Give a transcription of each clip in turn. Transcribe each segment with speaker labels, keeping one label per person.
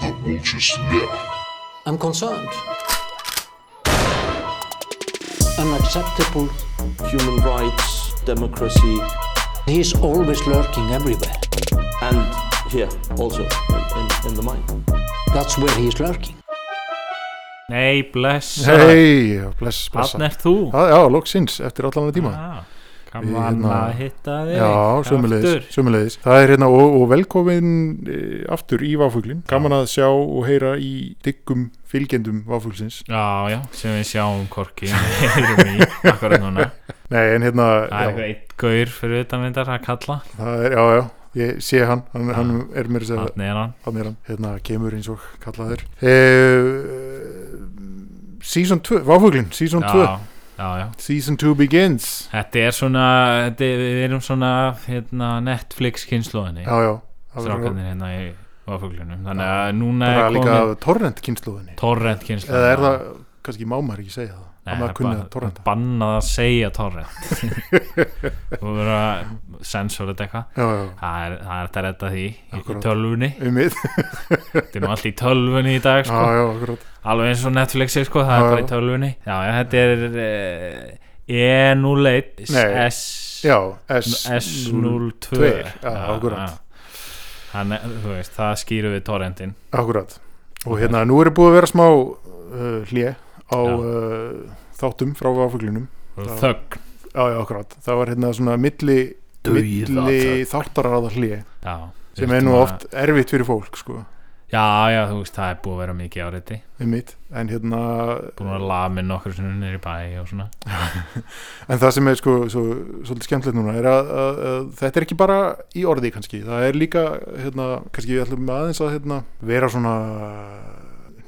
Speaker 1: The boat is left.
Speaker 2: I'm concerned. Unacceptable.
Speaker 3: human rights, democracy,
Speaker 2: He's always lurking everywhere.
Speaker 3: and here also in, in, in the mind.
Speaker 2: That's where he's lurking.
Speaker 4: Nei, blessa
Speaker 5: Hei, bless, bless
Speaker 4: Þann er þú
Speaker 5: Já, já, loksins, eftir allan að tíma
Speaker 4: ah,
Speaker 5: Ég,
Speaker 4: Kannan
Speaker 5: hérna,
Speaker 4: að hitta þig
Speaker 5: Já, sömulegis, sömulegis Það er hérna og, og velkomin e, aftur í Váfuglin Gaman að sjá og heyra í diggum fylgjendum Váfuglsins
Speaker 4: Já, já, sem við sjáum korki erum í akkurat núna
Speaker 5: Nei, en hérna,
Speaker 4: Það er
Speaker 5: já,
Speaker 4: eitthvað eitt gaur fyrir utan reyndar að kalla
Speaker 5: það er, já, já Ég sé hann, hann, hann er mér að segja
Speaker 4: Þannig er hann
Speaker 5: hann er hann, hérna kemur eins og kallaður eh, Season 2, Váfuglin, Season 2
Speaker 4: Já, já, já
Speaker 5: Season 2 begins
Speaker 4: Þetta er svona, þetta er, við erum svona hérna, Netflix kynnslóðinni
Speaker 5: Já, já, það verður-
Speaker 4: Strákanir hérna í vafuglunum Þannig að núna
Speaker 5: það
Speaker 4: er
Speaker 5: er líka
Speaker 4: komið
Speaker 5: torrent kynsluðinni
Speaker 4: torrent kynnslóð
Speaker 5: Eða er það, kannski má maður ekki segja það Nei, maður kunni að torrenta
Speaker 4: Bannað að segja torrent Þú verður að sensora þetta eitthvað
Speaker 5: Já, já,
Speaker 4: Það er, það er hægt að redda því í, í
Speaker 5: Akkúrat.
Speaker 4: tölvunni,
Speaker 5: um mitt
Speaker 4: þetta er nú allt í tölvunni í dag
Speaker 5: Já,
Speaker 4: sko.
Speaker 5: já, akkurat
Speaker 4: alveg eins og Netflix er, sko, það
Speaker 5: Já,
Speaker 4: er bara
Speaker 5: já.
Speaker 4: í tölvunni já, já, þetta eh, E er E01
Speaker 5: Nei, Já, S, Mm,
Speaker 4: S02
Speaker 5: Tveir, já, akkúrat.
Speaker 4: Þannig, þú veist, það skýru við torrentin
Speaker 5: Akkurat Og hérna, nú eru búið að vera smá uh, hlje á
Speaker 4: Já.
Speaker 5: uh, þáttum frá áfuglinum
Speaker 4: og
Speaker 5: Já.
Speaker 4: þögn
Speaker 5: Já, já, akkurat Það var hérna svona milli, milli þáttaraða hlje
Speaker 4: já,
Speaker 5: sem
Speaker 4: Þurftum
Speaker 5: er nú
Speaker 4: að-
Speaker 5: oft erfitt fyrir fólk, sko
Speaker 4: já, já, þú veist, það er búið að vera mikið áreiti
Speaker 5: um mitt En hérna
Speaker 4: búin að lamin nokkur sinni niður í bæ og svona
Speaker 5: En það sem er sko svo, svolítið skemmtilegt núna er að, að, að þetta er ekki bara í orði kannski, það er líka hérna, kannski við ætlum aðeins að hérna, vera svona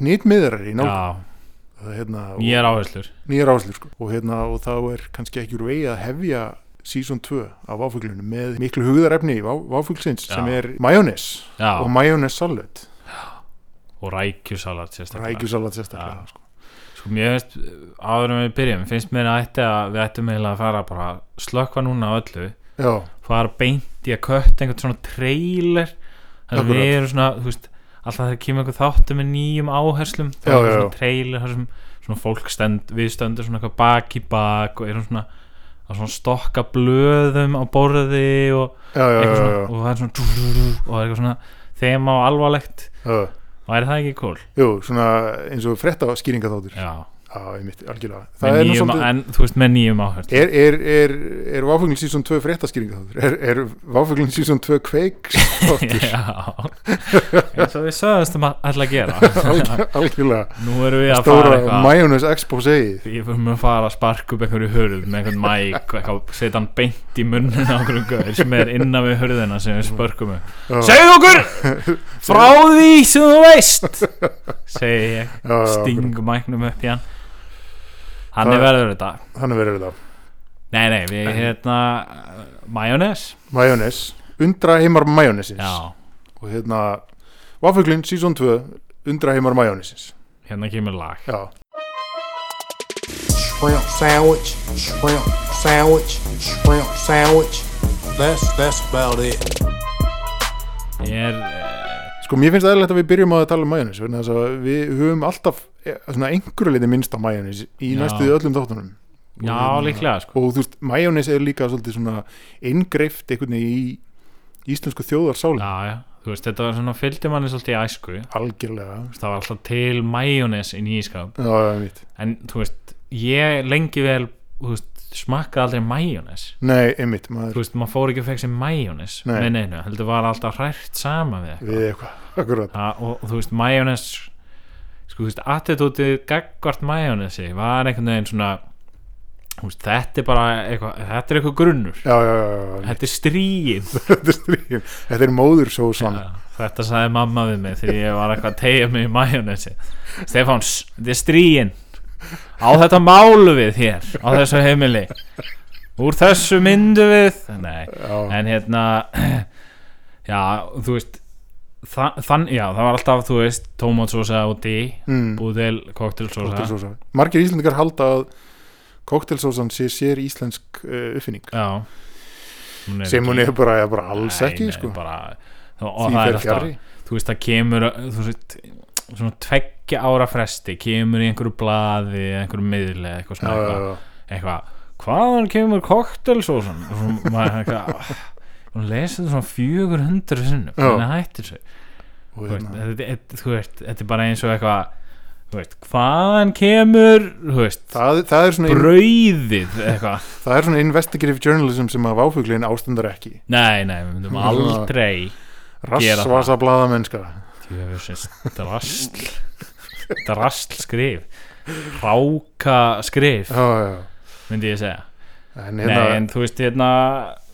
Speaker 5: nýtmiðrar í nátt
Speaker 4: já,
Speaker 5: hérna, og
Speaker 4: nýjar áherslur
Speaker 5: nýjar áslur sko. og, hérna, og þá er kannski ekki úr vegi að hefja season 2 af áfuglunum með miklu hugðarefni í áfuglsins
Speaker 4: Já.
Speaker 5: sem er majónes
Speaker 4: já,
Speaker 5: og
Speaker 4: og,
Speaker 5: majónes salat
Speaker 4: rækjusalat sérstaklega
Speaker 5: rækjusalat sérstaklega
Speaker 4: Já.
Speaker 5: sko.
Speaker 4: Sko mér finnst, áður en við byrjum, finnst mér að, ætti að við ættum eiginlega að fara bara slökva núna á öllu,
Speaker 5: já,
Speaker 4: fara beint í að kött einhvern svona trailer, þar sem
Speaker 5: Akkurat.
Speaker 4: við erum svona, þú veist, alltaf þegar kemur einhver þáttu með nýjum áherslum, þá
Speaker 5: Já,
Speaker 4: er
Speaker 5: já,
Speaker 4: svona
Speaker 5: já.
Speaker 4: trailer, þar sem svona fólk stend, við stöndum svona eitthvað bak í bak og erum svona að svona stokka blöðum á borði og,
Speaker 5: já, já,
Speaker 4: eitthvað
Speaker 5: já,
Speaker 4: svona,
Speaker 5: já,
Speaker 4: og það er svona og það er eitthvað svona þema og alvarlegt
Speaker 5: já.
Speaker 4: og er það ekki cool?
Speaker 5: Jú, svona eins og frétta skýringaþáttur já,
Speaker 4: Já,
Speaker 5: einmitt, algjörlega
Speaker 4: með
Speaker 5: er nú
Speaker 4: nýjum,
Speaker 5: svolítið-
Speaker 4: en þú veist með nýjum áherslum
Speaker 5: Er, er, er, er Váfuglin sísón 2 fréttaskýringa þáttur? Er, er Váfuglin sísón 2 kveiks þáttur?
Speaker 4: Já, eins og við sögumstum að ætla að gera
Speaker 5: Algjör- Algjörlega
Speaker 4: Nú erum við að fara
Speaker 5: Stóra
Speaker 4: eitthvað
Speaker 5: Mayonnaise Exposé
Speaker 4: Við fyrir að fara að sparka upp einhverju hurð með einhvern mæk og eitthvað setja hann beint í munnin á einhverjum gaur sem er innan við hurðina sem við spörkum um Segðu okkur frá því sem þú veist segi ég sting mæknum upp í hann Hann er
Speaker 5: Það-
Speaker 4: verður þetta
Speaker 5: Þannig verður þetta
Speaker 4: Nei, nei, við hérna Majónes
Speaker 5: Mayonnaise Undra heimar Mayonnaisins
Speaker 4: Já,
Speaker 5: Og hérna Váfuglin sísón 2 Undra heimar Mayonnaisins
Speaker 4: hérna kemur lag
Speaker 5: Já
Speaker 6: shrimp sandwich, shrimp sandwich, shrimp sandwich. That's that's about it.
Speaker 4: Ég er eh,
Speaker 5: Sko mér finnst aðeinslegt að við byrjum á að tala um Mayonnaise vegna þess að við höfum alltaf eh, svona einhverju leiti minnst á Mayonnaise í
Speaker 4: Já.
Speaker 5: næstuði öllum þáttunum
Speaker 4: Já, líklega sko
Speaker 5: og þú veist, majónis er líka svolítið svona inngreift einhvern veginn í íslensku þjóðarsálin
Speaker 4: Já, já, þú veist, þetta var svona fylgdi manni svolítið í æsku, Þú
Speaker 5: algjörlega
Speaker 4: veist, það var alltaf til majónes inn í ískap,
Speaker 5: já, já, mitt.
Speaker 4: en þú veist, ég lengi vel, þú veist, smakkaði aldrei majónes,
Speaker 5: nei, einmitt, maður
Speaker 4: þú veist, maður fór ekki að fekk sér majónes
Speaker 5: Nei.
Speaker 4: með neinu, heldur var alltaf hrært sama við
Speaker 5: við
Speaker 4: eitthvað,
Speaker 5: eitthvað, akkurat
Speaker 4: Þa, og þú veist, majónes, sko, þú veist, attitútið gaggvart majónesi var einhvern veginn svona, þú veist, þetta er bara eitthvað, þetta er eitthvað grunnur,
Speaker 5: já, já, já, já,
Speaker 4: þetta er stríð,
Speaker 5: þetta er stríðin þetta er móður svo sann
Speaker 4: Já, Þetta sagði mamma við mig þegar ég var eitthvað að tegja mig í majónesi Stefáns, þetta er stríin Á þetta málu við hér Á þessu heimili Úr þessu myndu við Nei,
Speaker 5: já,
Speaker 4: en hérna Já, þú veist þa- Þann, já, það var alltaf, þú veist Tómatsósa úti,
Speaker 5: mm,
Speaker 4: búið til koktelsósa
Speaker 5: kóktelsósa margir íslendingar halda að kóktelsósan sé sér íslensk uh, uppfinning
Speaker 4: Já Hún
Speaker 5: sem hún er bara, er bara alls
Speaker 4: Nei,
Speaker 5: ekki
Speaker 4: nei,
Speaker 5: sko.
Speaker 4: bara, og, og
Speaker 5: því
Speaker 4: það er
Speaker 5: fer
Speaker 4: alltaf
Speaker 5: fjari
Speaker 4: þú þú veist það kemur þú veist, svona tveggja ára fresti kemur í einhverju blaði eða einhverju miðli eða eitthvað svona eitthvað, eitthvað hvaðan kemur koktelsósan og svona maður eitthvað "Ah." hún lesi þetta svona 400 sinnum
Speaker 5: Já.
Speaker 4: þannig að hættir sig
Speaker 5: og
Speaker 4: Þú veist,
Speaker 5: hérna,
Speaker 4: þetta- þetta- þú veist, þetta er bara eins og eitthvað þú veist, hvaðan kemur þú veist,
Speaker 5: það, það, er svona in,
Speaker 4: brauðið eitthvað,
Speaker 5: það er svona investigative journalism sem að váfuglin ástundar ekki
Speaker 4: nei, nei, við myndum aldrei Gera það.
Speaker 5: rassvasa blaða mennska
Speaker 4: djöfusins drasl drasl skrif ráka skrif myndi ég segja
Speaker 5: en
Speaker 4: Nei, en
Speaker 5: hérna,
Speaker 4: þú veist, hérna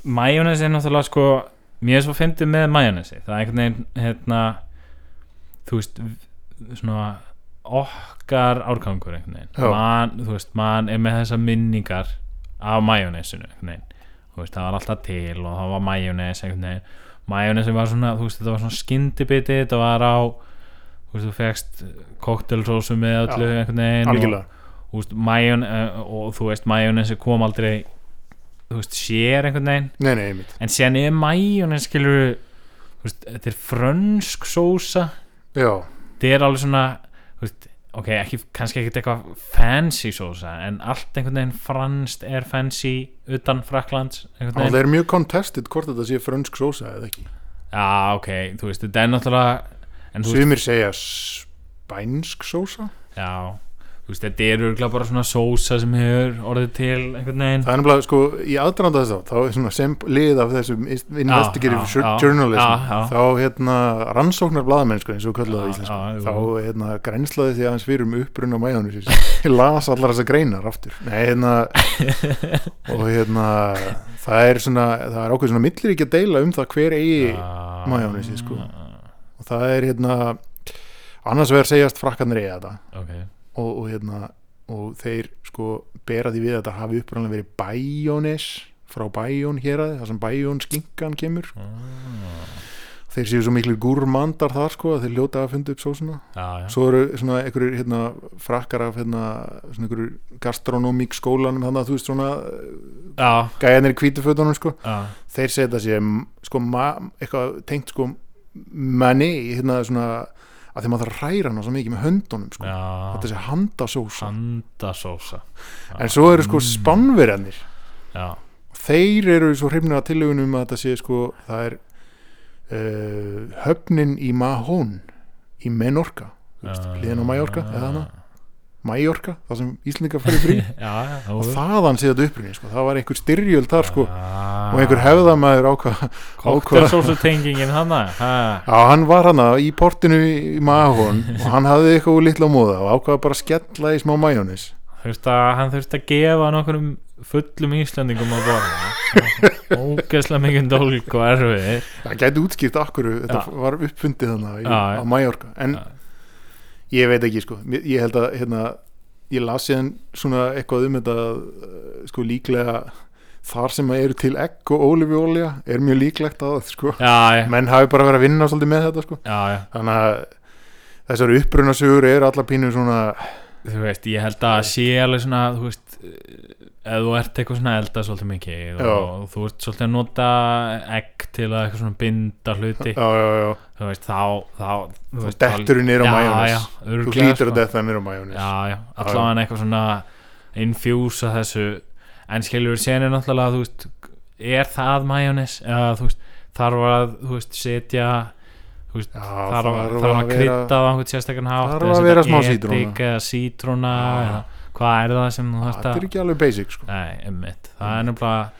Speaker 4: majónesi er náttúrulega sko mér er svo fyndið með majónesi það er einhvern veginn, hérna þú veist, v- svona okkar árgangur einhvern
Speaker 5: Já.
Speaker 4: veginn man, þú veist, mann er með þessar minningar af majónesinu einhvern veginn, þú veist, það var alltaf til og það var majónes einhvern veginn majónesi var svona, þú veist, þetta var svona skyndibiti þetta var á þú veist, þú fegst koktelsósu með öllu einhvern veginn og-
Speaker 5: algjörlega
Speaker 4: þú veist, majón, uh, og þú veist majónesi kom aldrei þú veist, sér einhvern veginn
Speaker 5: nei, nei, einmitt
Speaker 4: en séðan er majónes skilur þú veist, þetta er frönsk sósa
Speaker 5: já,
Speaker 4: þetta er alveg svona þú veist, ok, ekki, kannski ekkert eitthvað fancy sósa, en allt einhvern veginn franskt er fancy utan Fraklands
Speaker 5: og
Speaker 4: einhvern
Speaker 5: það
Speaker 4: veginn
Speaker 5: er mjög contested hvort þetta sé frönsk sósa eða ekki
Speaker 4: já, ok, þú veist, þetta er náttúrulega en þú veist,
Speaker 5: sumir segja spænsk sósa
Speaker 4: já þú veist, þetta er örgulega bara svona sósa sem hefur orðið til einhvern veginn
Speaker 5: það er nefnilega sko í aðdraðanda þess að þá er svona sem lið af þessum is- investigative
Speaker 4: já, já,
Speaker 5: journalism
Speaker 4: já, já.
Speaker 5: þá hérna rannsóknar blaðamennsku eins og kallið það
Speaker 4: Já,
Speaker 5: í íslensku
Speaker 4: já, jú.
Speaker 5: þá hérna grænslaði því aðeins fyrir um uppruna mæjónu ég las allar þessar greinar aftur Nei, hérna, og hérna það er svona það er ákveð svona millir ekki að deila um það hver eigi
Speaker 4: Ah,
Speaker 5: majónesi, sko. og það er hérna annars vegar segjast frakkanir eigi þetta
Speaker 4: ok,
Speaker 5: og, og hérna og þeir sko bera því við að þetta hafi upprannlega verið Bæjónes frá Bæjón hér að það sem Bæjón skinkan kemur
Speaker 4: Ah.
Speaker 5: þeir séu svo miklu gúrmandar þar sko að þeir ljóta að funda upp sósuna
Speaker 4: já, já
Speaker 5: svo eru svona einhverjir hérna frakkar af hérna svona einhverjur gastronómík skólanum þannig að þú veist svona
Speaker 4: já,
Speaker 5: gæjanir í kvítufötunum sko
Speaker 4: já
Speaker 5: þeir setja sér sko ma, eitthvað tengt sko manni hérna svona að þeim að það ræra hana svo mikið með höndunum sko
Speaker 4: Já,
Speaker 5: þetta sé handasósa
Speaker 4: sandasósa Mm.
Speaker 5: en svo eru sko spannverjarnir
Speaker 4: Já,
Speaker 5: þeir eru svo hrifnir að tillögunum að þetta sé sko það er uh, höfnin í Mahón í Menorka þú veist,
Speaker 4: Já.
Speaker 5: hliðin á Mallorca eða hana Mallorca, það sem Íslendinga fyrir frí
Speaker 4: já, já
Speaker 5: og þaðan sé þetta upprinni sko. það var einhver styrjöld þar sko
Speaker 4: ah,
Speaker 5: og einhver hefðamæður ákvað ákvað
Speaker 4: Koktelsósu tengingin hana ha.
Speaker 5: Já, hann var hana í portinu í Mahón og hann hafði eitthvað úr litla móða og ákvaða bara að skella í smá majónis
Speaker 4: Þurft að, Hann þurft að gefa nokkurum fullum Íslandingum á borða Ógeðslega mikið dólg og erfið
Speaker 5: Það gæti útskýrt akkur þetta
Speaker 4: Já.
Speaker 5: var uppfundið hana í,
Speaker 4: Já, já.
Speaker 5: á Mallorca en
Speaker 4: Já.
Speaker 5: ég veit ekki sko Mér- ég held að hérna, ég las síðan svona eitthvað um þetta uh, sko líklega þar sem að eru til egg og ólífiólja er mjög líklegt að sko
Speaker 4: Já, já,
Speaker 5: menn hafi bara verið að vinna svolítið með þetta sko
Speaker 4: já, já
Speaker 5: þannig að þessar upprunasugur eru allar pínu svona
Speaker 4: Þú veist, ég held að sé alveg svona Þú veist, eða þú ert eitthvað svona að elda svolítið mikið
Speaker 5: Já.
Speaker 4: og, og þú ert svolítið að nota egg til að eitthvað svona binda hluti
Speaker 5: já, já, já,
Speaker 4: þú veist, þá, þá þú veist,
Speaker 5: detturðu niður á
Speaker 4: Já,
Speaker 5: majónes.
Speaker 4: já,
Speaker 5: þú
Speaker 4: örugglega,
Speaker 5: hlýtur
Speaker 4: sko.
Speaker 5: að þetta mér á majónis
Speaker 4: já, já, allavega eitthvað svona infjúsa þessu en skilur sér er náttúrulega þú veist, er það majónes eða þú veist, þarf að þú veist, setja þú veist,
Speaker 5: Já,
Speaker 4: þarf, að- þarf
Speaker 5: þarf að
Speaker 4: að
Speaker 5: vera-
Speaker 4: krydda á einhvern sérstakann hátt
Speaker 5: þarf
Speaker 4: eða
Speaker 5: að
Speaker 4: setja
Speaker 5: vera smá
Speaker 4: edik
Speaker 5: sítróna.
Speaker 4: eða sítrúna
Speaker 5: Já.
Speaker 4: eða hvað er það sem þú þarft
Speaker 5: þetta
Speaker 4: að
Speaker 5: er ekki alveg basic sko
Speaker 4: Nei, einmitt, það er nefnilega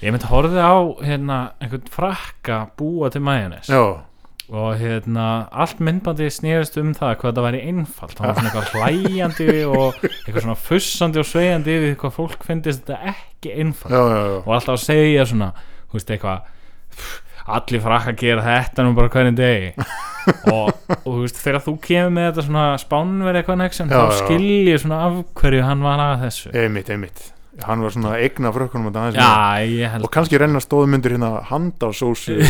Speaker 4: ég myndi horfið á hérna, einhvern frakka búa til majónes
Speaker 5: já,
Speaker 4: og hérna allt myndbandi snerist um það hvað þetta væri einfalt hann var svona eitthvað hlæjandi og eitthvað svona fussandi og sveigjandi yfir því hvað fólk finnist þetta ekki einfalt
Speaker 5: já, já, já.
Speaker 4: og alltaf að segja svona þú veist eitthvað "Pff, allir frakka gera þetta nú bara hvernig degi og, og þú veist þegar þú kemur með þetta svona spánveri eitthvað nexum þá
Speaker 5: Já, já.
Speaker 4: skilji svona af hverju hann var að þessu
Speaker 5: einmitt, einmitt hann var svona að eigna frökkunum að aðeins meira.
Speaker 4: já ég held
Speaker 5: og kannski renna stóðum undir hérna handásósu
Speaker 4: já,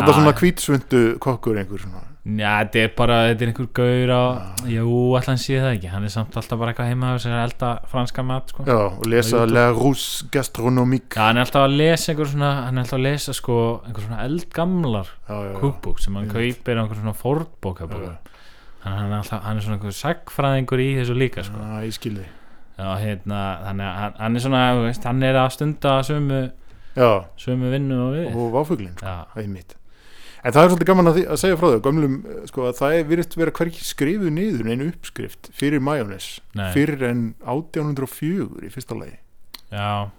Speaker 4: Já,
Speaker 5: það svona
Speaker 4: já.
Speaker 5: kvítsvundu kokkur einhver svona
Speaker 4: Já, þetta er bara, þetta er einhver gaur á Jú, allan sé það ekki Hann er samt alltaf bara eitthvað heima á sér að elda franska mat sko.
Speaker 5: Já, og lesa La Rousse Gastronomique
Speaker 4: Já, hann er alltaf að lesa einhver svona Hann er alltaf að lesa sko einhver svona eldgamlar
Speaker 5: Já, já, já.
Speaker 4: kúkbók sem hann kaupir á einhver svona fordbókabóka Þannig að hann er alltaf, hann er svona einhver sagfræðingur í þessu líka sko.
Speaker 5: Já, ég skil þig
Speaker 4: Já, hérna, þannig að hann, hann er svona þú veist, Hann er að stunda sömu,
Speaker 5: Já,
Speaker 4: sömu vinnu og við
Speaker 5: og váfuglinn sko,
Speaker 4: Já,
Speaker 5: einmitt En það er svolítið gaman að, því, að segja frá þau gömlum, eh, sko, að það er virðist vera hverki skrifuð niður en uppskrift fyrir majónes
Speaker 4: Nei.
Speaker 5: fyrir en 1804 í fyrsta lagi
Speaker 4: já,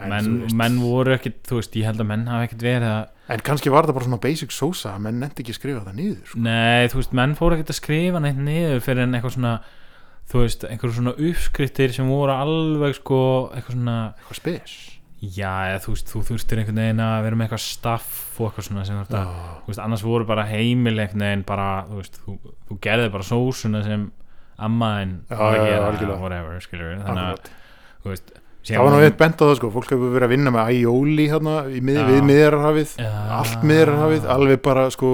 Speaker 5: en,
Speaker 4: menn,
Speaker 5: þú veist,
Speaker 4: menn voru ekkit Þú veist, ég held að menn hafa ekkit verið að
Speaker 5: en kannski var það bara svona basic sósa að menn nefndi ekki að skrifa það niður sko.
Speaker 4: Nei, þú veist, menn fóru ekkert að skrifa neitt niður fyrir en eitthvað svona þú veist, einhver svona uppskriftir sem voru alveg sko, eitthvað svona
Speaker 5: eitthvað spes
Speaker 4: já, eða, þú veist, þú þurftir einhvern veginn að vera með eitthvað staff og eitthvað svona sem þetta,
Speaker 5: Já.
Speaker 4: þú veist, annars voru bara heimil einhvern veginn bara, þú veist, þú, þú gerði bara sósuna sem ammaðin
Speaker 5: Já,
Speaker 4: var að
Speaker 5: já, já,
Speaker 4: gera,
Speaker 5: algjörlega.
Speaker 4: whatever, skilur við, þannig
Speaker 5: Akkurat.
Speaker 4: að, þú veist
Speaker 5: það var nú eitt bent á það sko, fólk hefur verið að vinna með æjóli hérna í mið,
Speaker 4: Já.
Speaker 5: við miðjararhafið
Speaker 4: Já.
Speaker 5: allt miðjararhafið, alveg bara sko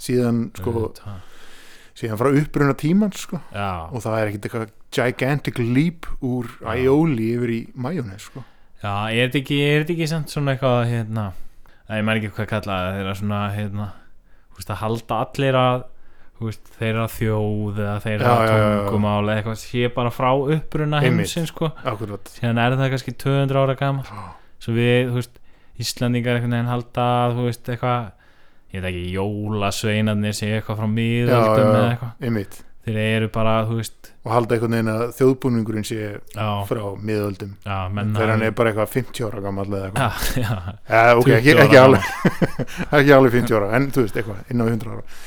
Speaker 5: síðan sko,
Speaker 4: Auðvitað.
Speaker 5: síðan frá uppruna tímans sko
Speaker 4: já,
Speaker 5: og það er ekkert eitthvað gigantic leap úr æjóli yfir í majónes sko.
Speaker 4: Já, er þetta ekki, er þetta ekki samt svona eitthvað hérna, að ég mær ekki hvað kalla það þeirra svona, hérna þú veist, að halda allir að þú veist, þeirra þjóð eða þeirra
Speaker 5: Já, já, já, já.
Speaker 4: tungumál eða eitthvað sé bara frá uppruna
Speaker 5: Einmitt.
Speaker 4: heimsins sko,
Speaker 5: Akkurat.
Speaker 4: síðan er það kannski 200 ára gamall
Speaker 5: Já.
Speaker 4: svo við, þú veist, Íslandingar einhvern veginn halda, að, þú veist, eitthvað ég veit ekki, jólasveinarnir séu eitthvað frá miðöldum eða eitthvað
Speaker 5: einmitt
Speaker 4: þeir eru bara, þú veist,
Speaker 5: og halda einhvern veginn að þjóðbúningurinn sé
Speaker 4: já,
Speaker 5: frá miðöldum
Speaker 4: já menn
Speaker 5: þegar hann
Speaker 4: hafi-
Speaker 5: er bara eitthvað 50 ára gammal eða eitthvað
Speaker 4: já, já,
Speaker 5: eh, ok, ekki,
Speaker 4: 20 ára
Speaker 5: ekki, alveg, ekki alveg 50 ára en þú veist, eitthvað, innan við 100 ára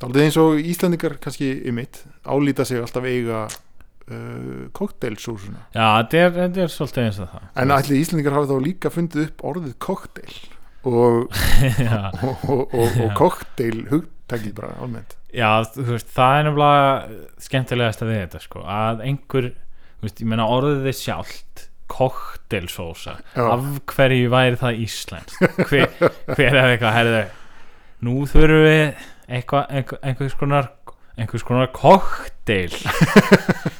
Speaker 5: Daldið eins og Íslandingar kannski einmitt álíta sig alltaf eiga uh, koktelsúsuna
Speaker 4: já, þetta er, þetta er svolítið eins og það
Speaker 5: en ætli Íslandingar hafi þá líka fundið upp orðið koktel og,
Speaker 4: já
Speaker 5: og, og, og, og koktel hugtækið bara almennt
Speaker 4: Já, þú veist, það er nefnilega skemmtilegast að við þetta, sko að einhver, þú veist, ég meina orðið þið sjálft koktelsósa
Speaker 5: Já.
Speaker 4: af hverju væri það íslenskt hver, hver er eitthvað, herðu nú þurfum við eitthvað, einhver, einhvers konar einhvers konar koktel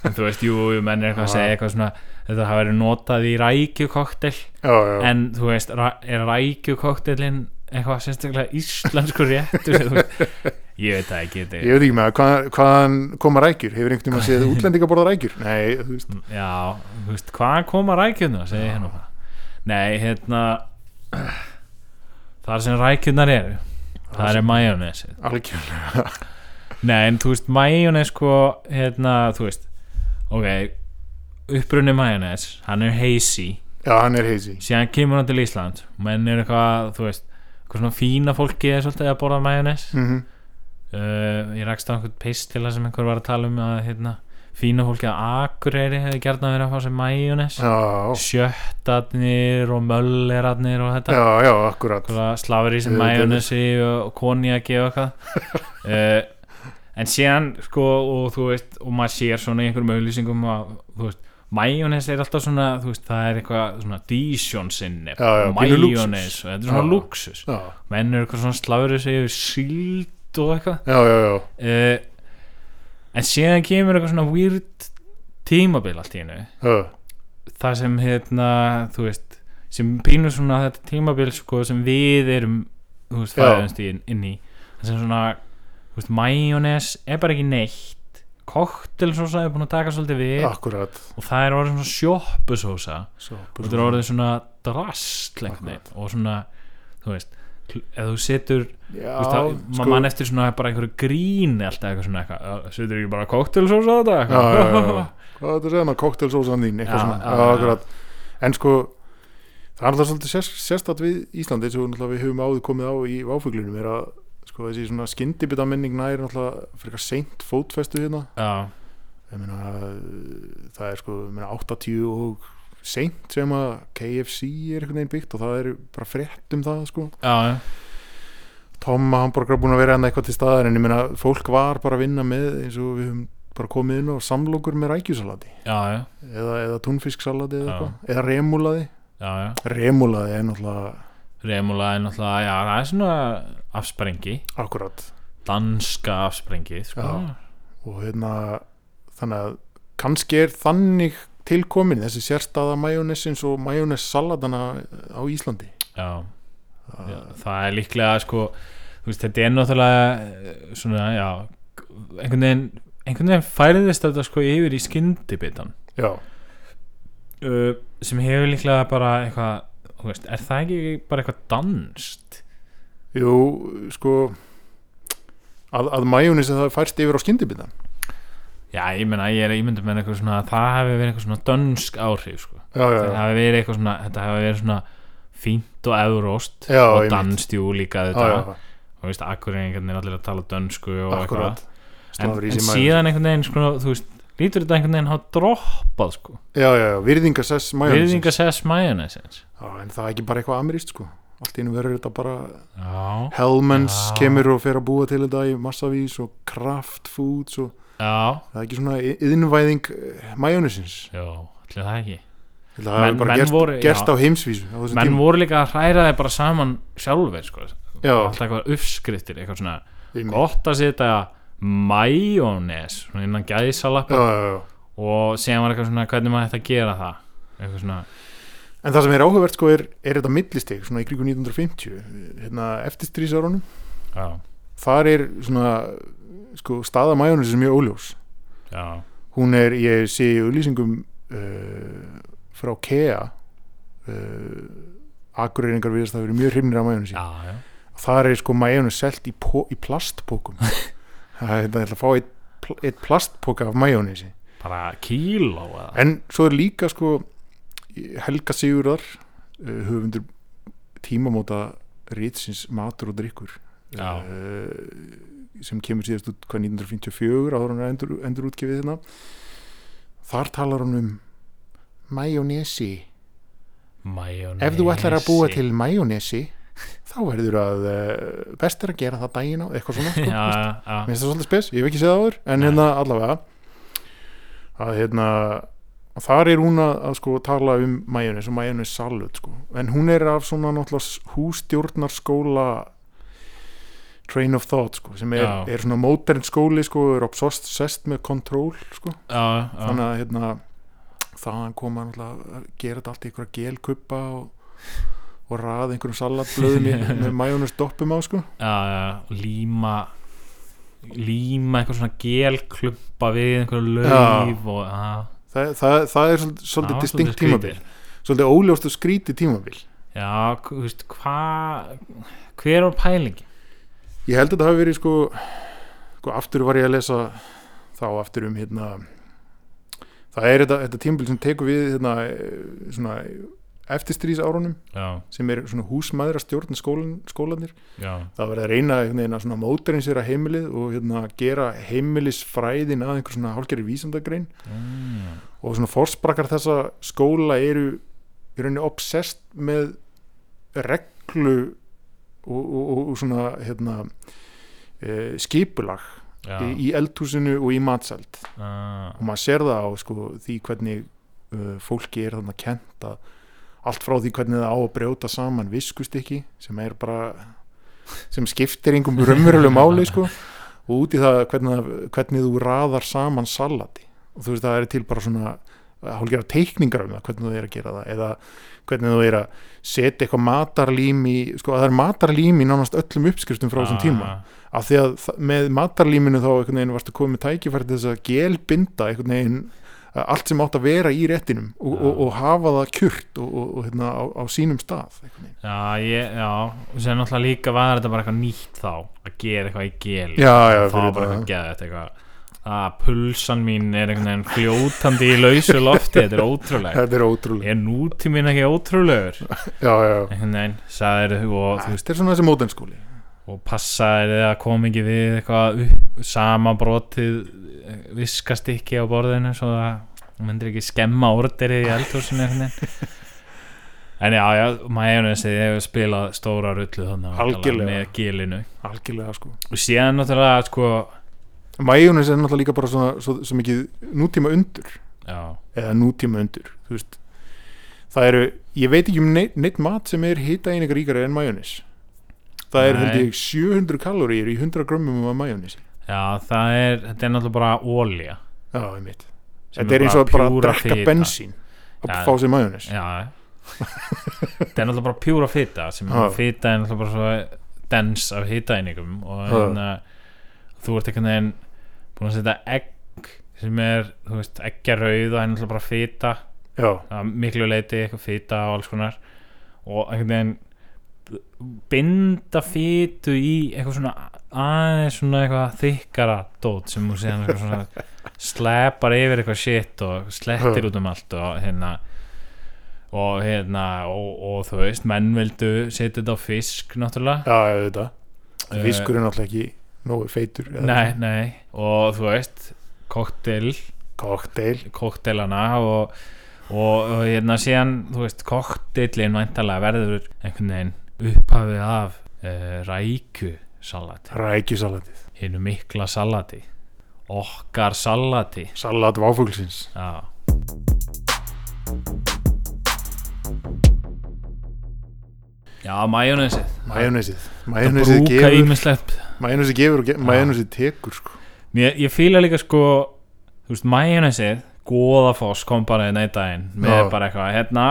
Speaker 4: en þú veist, jú, jú, menn er eitthvað að segja eitthvað svona, þetta hafa verið notað í rækjukoktel
Speaker 5: já, já,
Speaker 4: en þú veist, ra- er rækjukoktelin eitthvað sérstaklega íslensku réttur Þú veist, ég veit það ekki þetta
Speaker 5: ég veit ekki með það, hvað, hvaðan koma rækjur hefur einhvern veginn að séð útlendinga borða rækjur nei, þú veist,
Speaker 4: já, þú veist, hvaðan koma rækjurnar segi ég hérna það nei, hérna þar sem rækjurnar eru það er majónesi
Speaker 5: algjörlega
Speaker 4: nei, en þú veist, majónes sko, hérna, þú veist ok, upprunni majónes hann er hazy,
Speaker 5: já, hann er heisi
Speaker 4: síðan kemur hann til Ísland menn er eitthvað, þú veist eitthvað svona fína fólki er svolítið að borða majónes
Speaker 5: mm
Speaker 4: uh, ég rakst á einhvern pistila sem einhver var að tala um að hérna, fína fólki að Akureyri hefði gert að vera að fá sér majónes
Speaker 5: já,
Speaker 4: sjöttarnir og möllerarnir og þetta
Speaker 5: já, já, akkurat
Speaker 4: slafur í sem
Speaker 5: Auðvitað.
Speaker 4: majónesi og konjaki og eitthvað uh, en síðan sko og þú veist og maður sér svona í einhverjum auðlýsingum að þú veist majónes er alltaf svona þú veist það er eitthvað svona dísjón sinni
Speaker 5: Já, já, pínu lúxus.
Speaker 4: majónes og þetta er svona
Speaker 5: Já.
Speaker 4: luxus
Speaker 5: já,
Speaker 4: menn eru eitthvað svona slafur í sig yfir síld og eitthvað
Speaker 5: já, já, já,
Speaker 4: uh, en síðan kemur eitthvað svona weird tímabil allt í hennu
Speaker 5: já.
Speaker 4: það sem hérna, þú veist sem pínur svona þetta tímabil sko, sem við erum, þú veist,
Speaker 5: Já.
Speaker 4: fæðumst inn, inn í, það sem svona þú veist, majónes er bara ekki neitt koktelsósa er búin að taka svolítið við
Speaker 5: akkurat
Speaker 4: og það er orðið svona sjoppusósa
Speaker 5: Svo,
Speaker 4: og þetta er orðið svona drast og svona, þú veist kl- ef þú setur,
Speaker 5: já,
Speaker 4: þú veist, það,
Speaker 5: sko,
Speaker 4: maður mann eftir svona bara einhverju gríni alltaf eitthvað svona eitthvað, "Ö, setur ekki bara koktelsósa á þetta
Speaker 5: já, já, já,
Speaker 4: eitthvað
Speaker 5: já. hvað þetta segja maður, koktelsósan þín eitthvað
Speaker 4: Já,
Speaker 5: svona,
Speaker 4: já,
Speaker 5: já,
Speaker 4: já.
Speaker 5: akkurat en sko, það er alltaf svolítið sér, sérstætt við Íslandi eins og náttúrulega við höfum áður komið á í váfuglunum er að sko þessi svona skyndibita minning næri náttúrulega frekar seint fótfestu hérna
Speaker 4: já,
Speaker 5: ég meina uh, það er sko ég meina, 80 og seint sem að KFC er einhvern veginn byggt og það er bara frétt um það sko
Speaker 4: já, já
Speaker 5: Tomma Hamburger búin að vera hann eitthvað til staðar en ég meina fólk var bara að vinna með eins og við höfum bara komið inn á samlokur með rækjusalati
Speaker 4: já, já,
Speaker 5: eða, eða túnfisksalati eða
Speaker 4: Já.
Speaker 5: eitthvað eða remúlaði
Speaker 4: já, já.
Speaker 5: remúlaði er náttúrulega
Speaker 4: Remula er náttúrulega, já, það er svona afsprengi
Speaker 5: akkurat
Speaker 4: danska afsprengið sko.
Speaker 5: Já. og hérna þannig að kannski er þannig tilkomin þessi sérstaða majónesins og majónessalatana á Íslandi
Speaker 4: Já.
Speaker 5: Það-
Speaker 4: Já, það er líklega sko, þú veist, þetta er náttúrulega eh, svona, já einhvern veginn, einhvern veginn færiðist þetta sko yfir í skyndibitan
Speaker 5: já,
Speaker 4: uh, sem hefur líklega bara eitthvað, þú veist, er það ekki bara eitthvað danst?
Speaker 5: jú, sko að, að majónesin það færst yfir á skyndibita
Speaker 4: Já, ég meina, ég er ímyndum með eitthvað svona það hafi verið eitthvað svona dönsk áhrif sko.
Speaker 5: já, já,
Speaker 4: það
Speaker 5: já,
Speaker 4: hafi verið eitthvað svona, þetta hafi verið svona fínt og evróst
Speaker 5: Já,
Speaker 4: og
Speaker 5: einmitt.
Speaker 4: danst jú líka
Speaker 5: já,
Speaker 4: þetta
Speaker 5: já,
Speaker 4: og veist, akkurreiningarnir allir að tala dönsku og eitthvað
Speaker 5: akkurat
Speaker 4: en,
Speaker 5: Stafur í
Speaker 4: en
Speaker 5: sig majónes.
Speaker 4: síðan einhvern veginn sko, þú veist, lítur þetta einhvern veginn hafa droppað sko,
Speaker 5: já, já, já, virðingasess majónesins
Speaker 4: virðinga sess majónesins
Speaker 5: já, en það er ekki bara eitthvað ameríst sko allt í einu verður þetta bara
Speaker 4: já,
Speaker 5: Hellmans
Speaker 4: Já.
Speaker 5: kemur og fer að búa til þetta í massavís og Kraft Foods og
Speaker 4: já,
Speaker 5: það er ekki svona i- iðnvæðing eh, majónesins
Speaker 4: já allir það ekki
Speaker 5: Það hefur
Speaker 4: Menn-
Speaker 5: bara
Speaker 4: menn
Speaker 5: gerst,
Speaker 4: voru-
Speaker 5: gerst
Speaker 4: já.
Speaker 5: á heimsvísu á þessum
Speaker 4: menn
Speaker 5: tíma.
Speaker 4: voru líka að hræra þeir bara saman sjálfur sko,
Speaker 5: Já.
Speaker 4: alltaf eitthvað uppskriftir eitthvað svona,
Speaker 5: Einmitt.
Speaker 4: gott að setja majónes, svona innan
Speaker 5: Já,
Speaker 4: gæðisalappa
Speaker 5: já, já.
Speaker 4: og síðan var eitthvað svona, hvernig maður ætti að gera það eitthvað svona,
Speaker 5: En það sem er áhugavert sko er, er þetta millistig svona í krigu 1950 hérna, eftir strísárunum
Speaker 4: já,
Speaker 5: þar er svona sko, staða majónesins mjög óljós
Speaker 4: já
Speaker 5: hún er, ég sé í auðlýsingum uh, frá KEA uh, akureyringar viðast það verið mjög hrimnir af majónesi
Speaker 4: já, já,
Speaker 5: þar er sko majónes selt í, po- í plastpókum það er þetta að fá eitt, pl eitt plastpóka af majónesi
Speaker 4: bara kíló eða,
Speaker 5: En svo er líka sko Helga Sigurðar eh, höfundur tímamóta ritsins matur og drikkur
Speaker 4: Já.
Speaker 5: Eh, sem kemur síðast út hvað 1954 áður hann er endur, endur útgefið hérna þar talar hann um majónesi
Speaker 4: majónesi
Speaker 5: ef þú ætlar að búa til majónesi þá verður að eh, best er að gera það daginn á eitthvað svona sko,
Speaker 4: já, já,
Speaker 5: Mér finnst það svolítið spes, ég hef ekki séð það áður en
Speaker 4: Nei.
Speaker 5: hérna allavega að hérna að þar er hún að, að sko tala um majónis og majónis salut sko en hún er af svona náttúrulega s- hússtjórnarskóla train of thought sko sem er,
Speaker 4: Já.
Speaker 5: er svona modern skóli sko er obsessed með kontról sko
Speaker 4: já, já.
Speaker 5: þannig að hérna þaðan koma náttúrulega að gera þetta allt í einhverja gelkuppa og, og raða einhverjum salatblöðum í- með majónis doppum á sko
Speaker 4: já, já, og líma líma eitthvað svona gelklumpa við einhverju lauf og já,
Speaker 5: það, það, það er svolítið,
Speaker 4: það
Speaker 5: svolítið
Speaker 4: var
Speaker 5: distinkt
Speaker 4: skrítið.
Speaker 5: tímabil svolítið óljóst og skrítið tímabil
Speaker 4: já, k- þú veist, hvað hver var pælingi?
Speaker 5: ég held að þetta hafi verið sko, sko aftur var ég að lesa þá aftur um hérna það er þetta, þetta tímabil sem tekur við hérna, eh, svona eftirstrís árunum
Speaker 4: já,
Speaker 5: sem er svona húsmaður að stjórna skólan, skólanir
Speaker 4: já,
Speaker 5: það var að reyna einhvern veginn að svona mótarinsera heimilið og hérna gera heimilisfræðin að einhver svona hálfgerði vísandagrein
Speaker 4: mm,
Speaker 5: og svona fórsprakkar þessa skóla eru í rauninni obsessed með reglu og, og, og, og svona hérna, e, skipulag
Speaker 4: já,
Speaker 5: í, í eldhúsinu og í matseld
Speaker 4: já,
Speaker 5: og maður sér það á sko, því hvernig uh, fólki er þarna kent að allt frá því hvernig það á að brjóta saman viskustykki sem er bara sem skiptir einhverjum raunverulegu máli sko, og út í það hvernig, hvernig þú raðar saman salati og þú veist það er til bara svona hálfgerðar teikningar um það, hvernig þú er að gera það eða hvernig þú er að setja eitthvað matarlím í, sko að það er matarlím í nánast öllum uppskriftum frá
Speaker 4: Ah.
Speaker 5: þessum tíma af því að þa- með matarlíminu þá einhvern veginn varstu komið með tækifæri til þess að gelbinda einhvern veginn uh, allt sem átt að vera í réttinum og,
Speaker 4: Já.
Speaker 5: og, og hafa það kjurt og, og, og hérna á, á sínum stað einhvern veginn.
Speaker 4: já, ég, já og sér náttúrulega líka var þetta bara eitthvað nýtt þá að gera eitthvað í gel
Speaker 5: já, já,
Speaker 4: það var bara eitthvað geðvægt eitthvað að pulsan mín er einhvern veginn fljótandi í lausu lofti, þetta er ótrúlega
Speaker 5: þetta er ótrúlega
Speaker 4: er nútíminn ekki ótrúlegur
Speaker 5: já, já, já.
Speaker 4: einhvern veginn, sagðir og, þú veist,
Speaker 5: þetta er svona þessi mótenskóli
Speaker 4: og passaðir þið að koma ekki við eitthvað upp, sama brotið eh, viskast ekki á borðinu svo það þú myndir ekki skemma orderið í eldhúsinu einhvern veginn en já, já, majónesið hefur spilað stóra rullu þannig
Speaker 5: Algjörlega.
Speaker 4: með gilinu
Speaker 5: algjörlega sko
Speaker 4: og síðan náttúrulega sko,
Speaker 5: Majónis er náttúrulega líka bara svona svo, svo mikið nútíma undur
Speaker 4: já,
Speaker 5: eða nútíma undur þú veist það eru, ég veit ekki um neitt, neitt mat sem er hita einingar ríkari en majónis það er
Speaker 4: Nei.
Speaker 5: held ég 700 kaloríur í 100 grömmum af majónis
Speaker 4: Já, það er, þetta er náttúrulega bara ólja
Speaker 5: já, einmitt
Speaker 4: sem
Speaker 5: þetta er eins og bara að
Speaker 4: pjúra
Speaker 5: drakka
Speaker 4: fita.
Speaker 5: bensín og
Speaker 4: Já.
Speaker 5: fá sér majónis
Speaker 4: Já Þetta er náttúrulega bara pjúra fita sem
Speaker 5: Já.
Speaker 4: að fita er náttúrulega bara svo dens af hitaeiningum og
Speaker 5: Já.
Speaker 4: hérna þú ert einhvern veginn búin að setja egg sem er, þú veist, eggjarauð og það er náttúrulega bara fita
Speaker 5: já,
Speaker 4: það er miklu leiti, eitthvað fita og alls konar og einhvern veginn binda fitu í eitthvað svona aðeins svona eitthvað þykkara dót sem hún séðan eitthvað svona slepar yfir eitthvað shit og slettir út um allt og hérna og hérna og, og þú veist, menn vildu setja þetta á fisk náttúrulega
Speaker 5: já, já, þetta
Speaker 4: Eh,
Speaker 5: fiskur er náttúrulega ekki nógu feitur eða
Speaker 4: nei, nei, og þú veist koktel
Speaker 5: kokteil
Speaker 4: koktelana og, og, og hérna síðan þú veist koktelin væntalega verður einhvern veginn upphafið af uh, rækju salati
Speaker 5: rækjusalatið,
Speaker 4: hinnu mikla salati okkar salati
Speaker 5: salat váfuglsins
Speaker 4: já já, majónesið
Speaker 5: majónisið majónisið
Speaker 4: brúka
Speaker 5: gefur,
Speaker 4: ímislegt
Speaker 5: majónisið gefur og ge majónisið tekur sko
Speaker 4: Mér, ég fíla líka sko þú veist, majónesið Goðafoss kom bara einn einn daginn með
Speaker 5: Já.
Speaker 4: bara eitthvað, hérna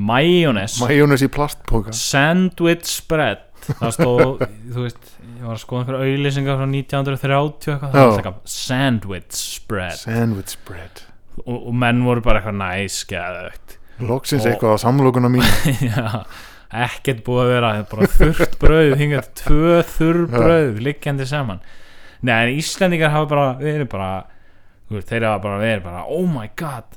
Speaker 4: majónes
Speaker 5: majónisið plastpoka
Speaker 4: Sandwich spread það stóð, þú veist ég var að skoða einhverja auðlýsingar frá 1930 eitthvað, það
Speaker 5: Já.
Speaker 4: var alltaf eitthvað sandwich spread
Speaker 5: sandwich bread
Speaker 4: og, og menn voru bara eitthvað næs geðvögt
Speaker 5: loksins
Speaker 4: Og-
Speaker 5: eitthvað á samlokuna mín
Speaker 4: Já, ekkert búið að vera bara þurrt brauð, hingað tvö þurr brauð liggjandi saman Nei, en Íslendingar hafa bara verið bara, þú veist, þeir hafa bara verið bara, oh my god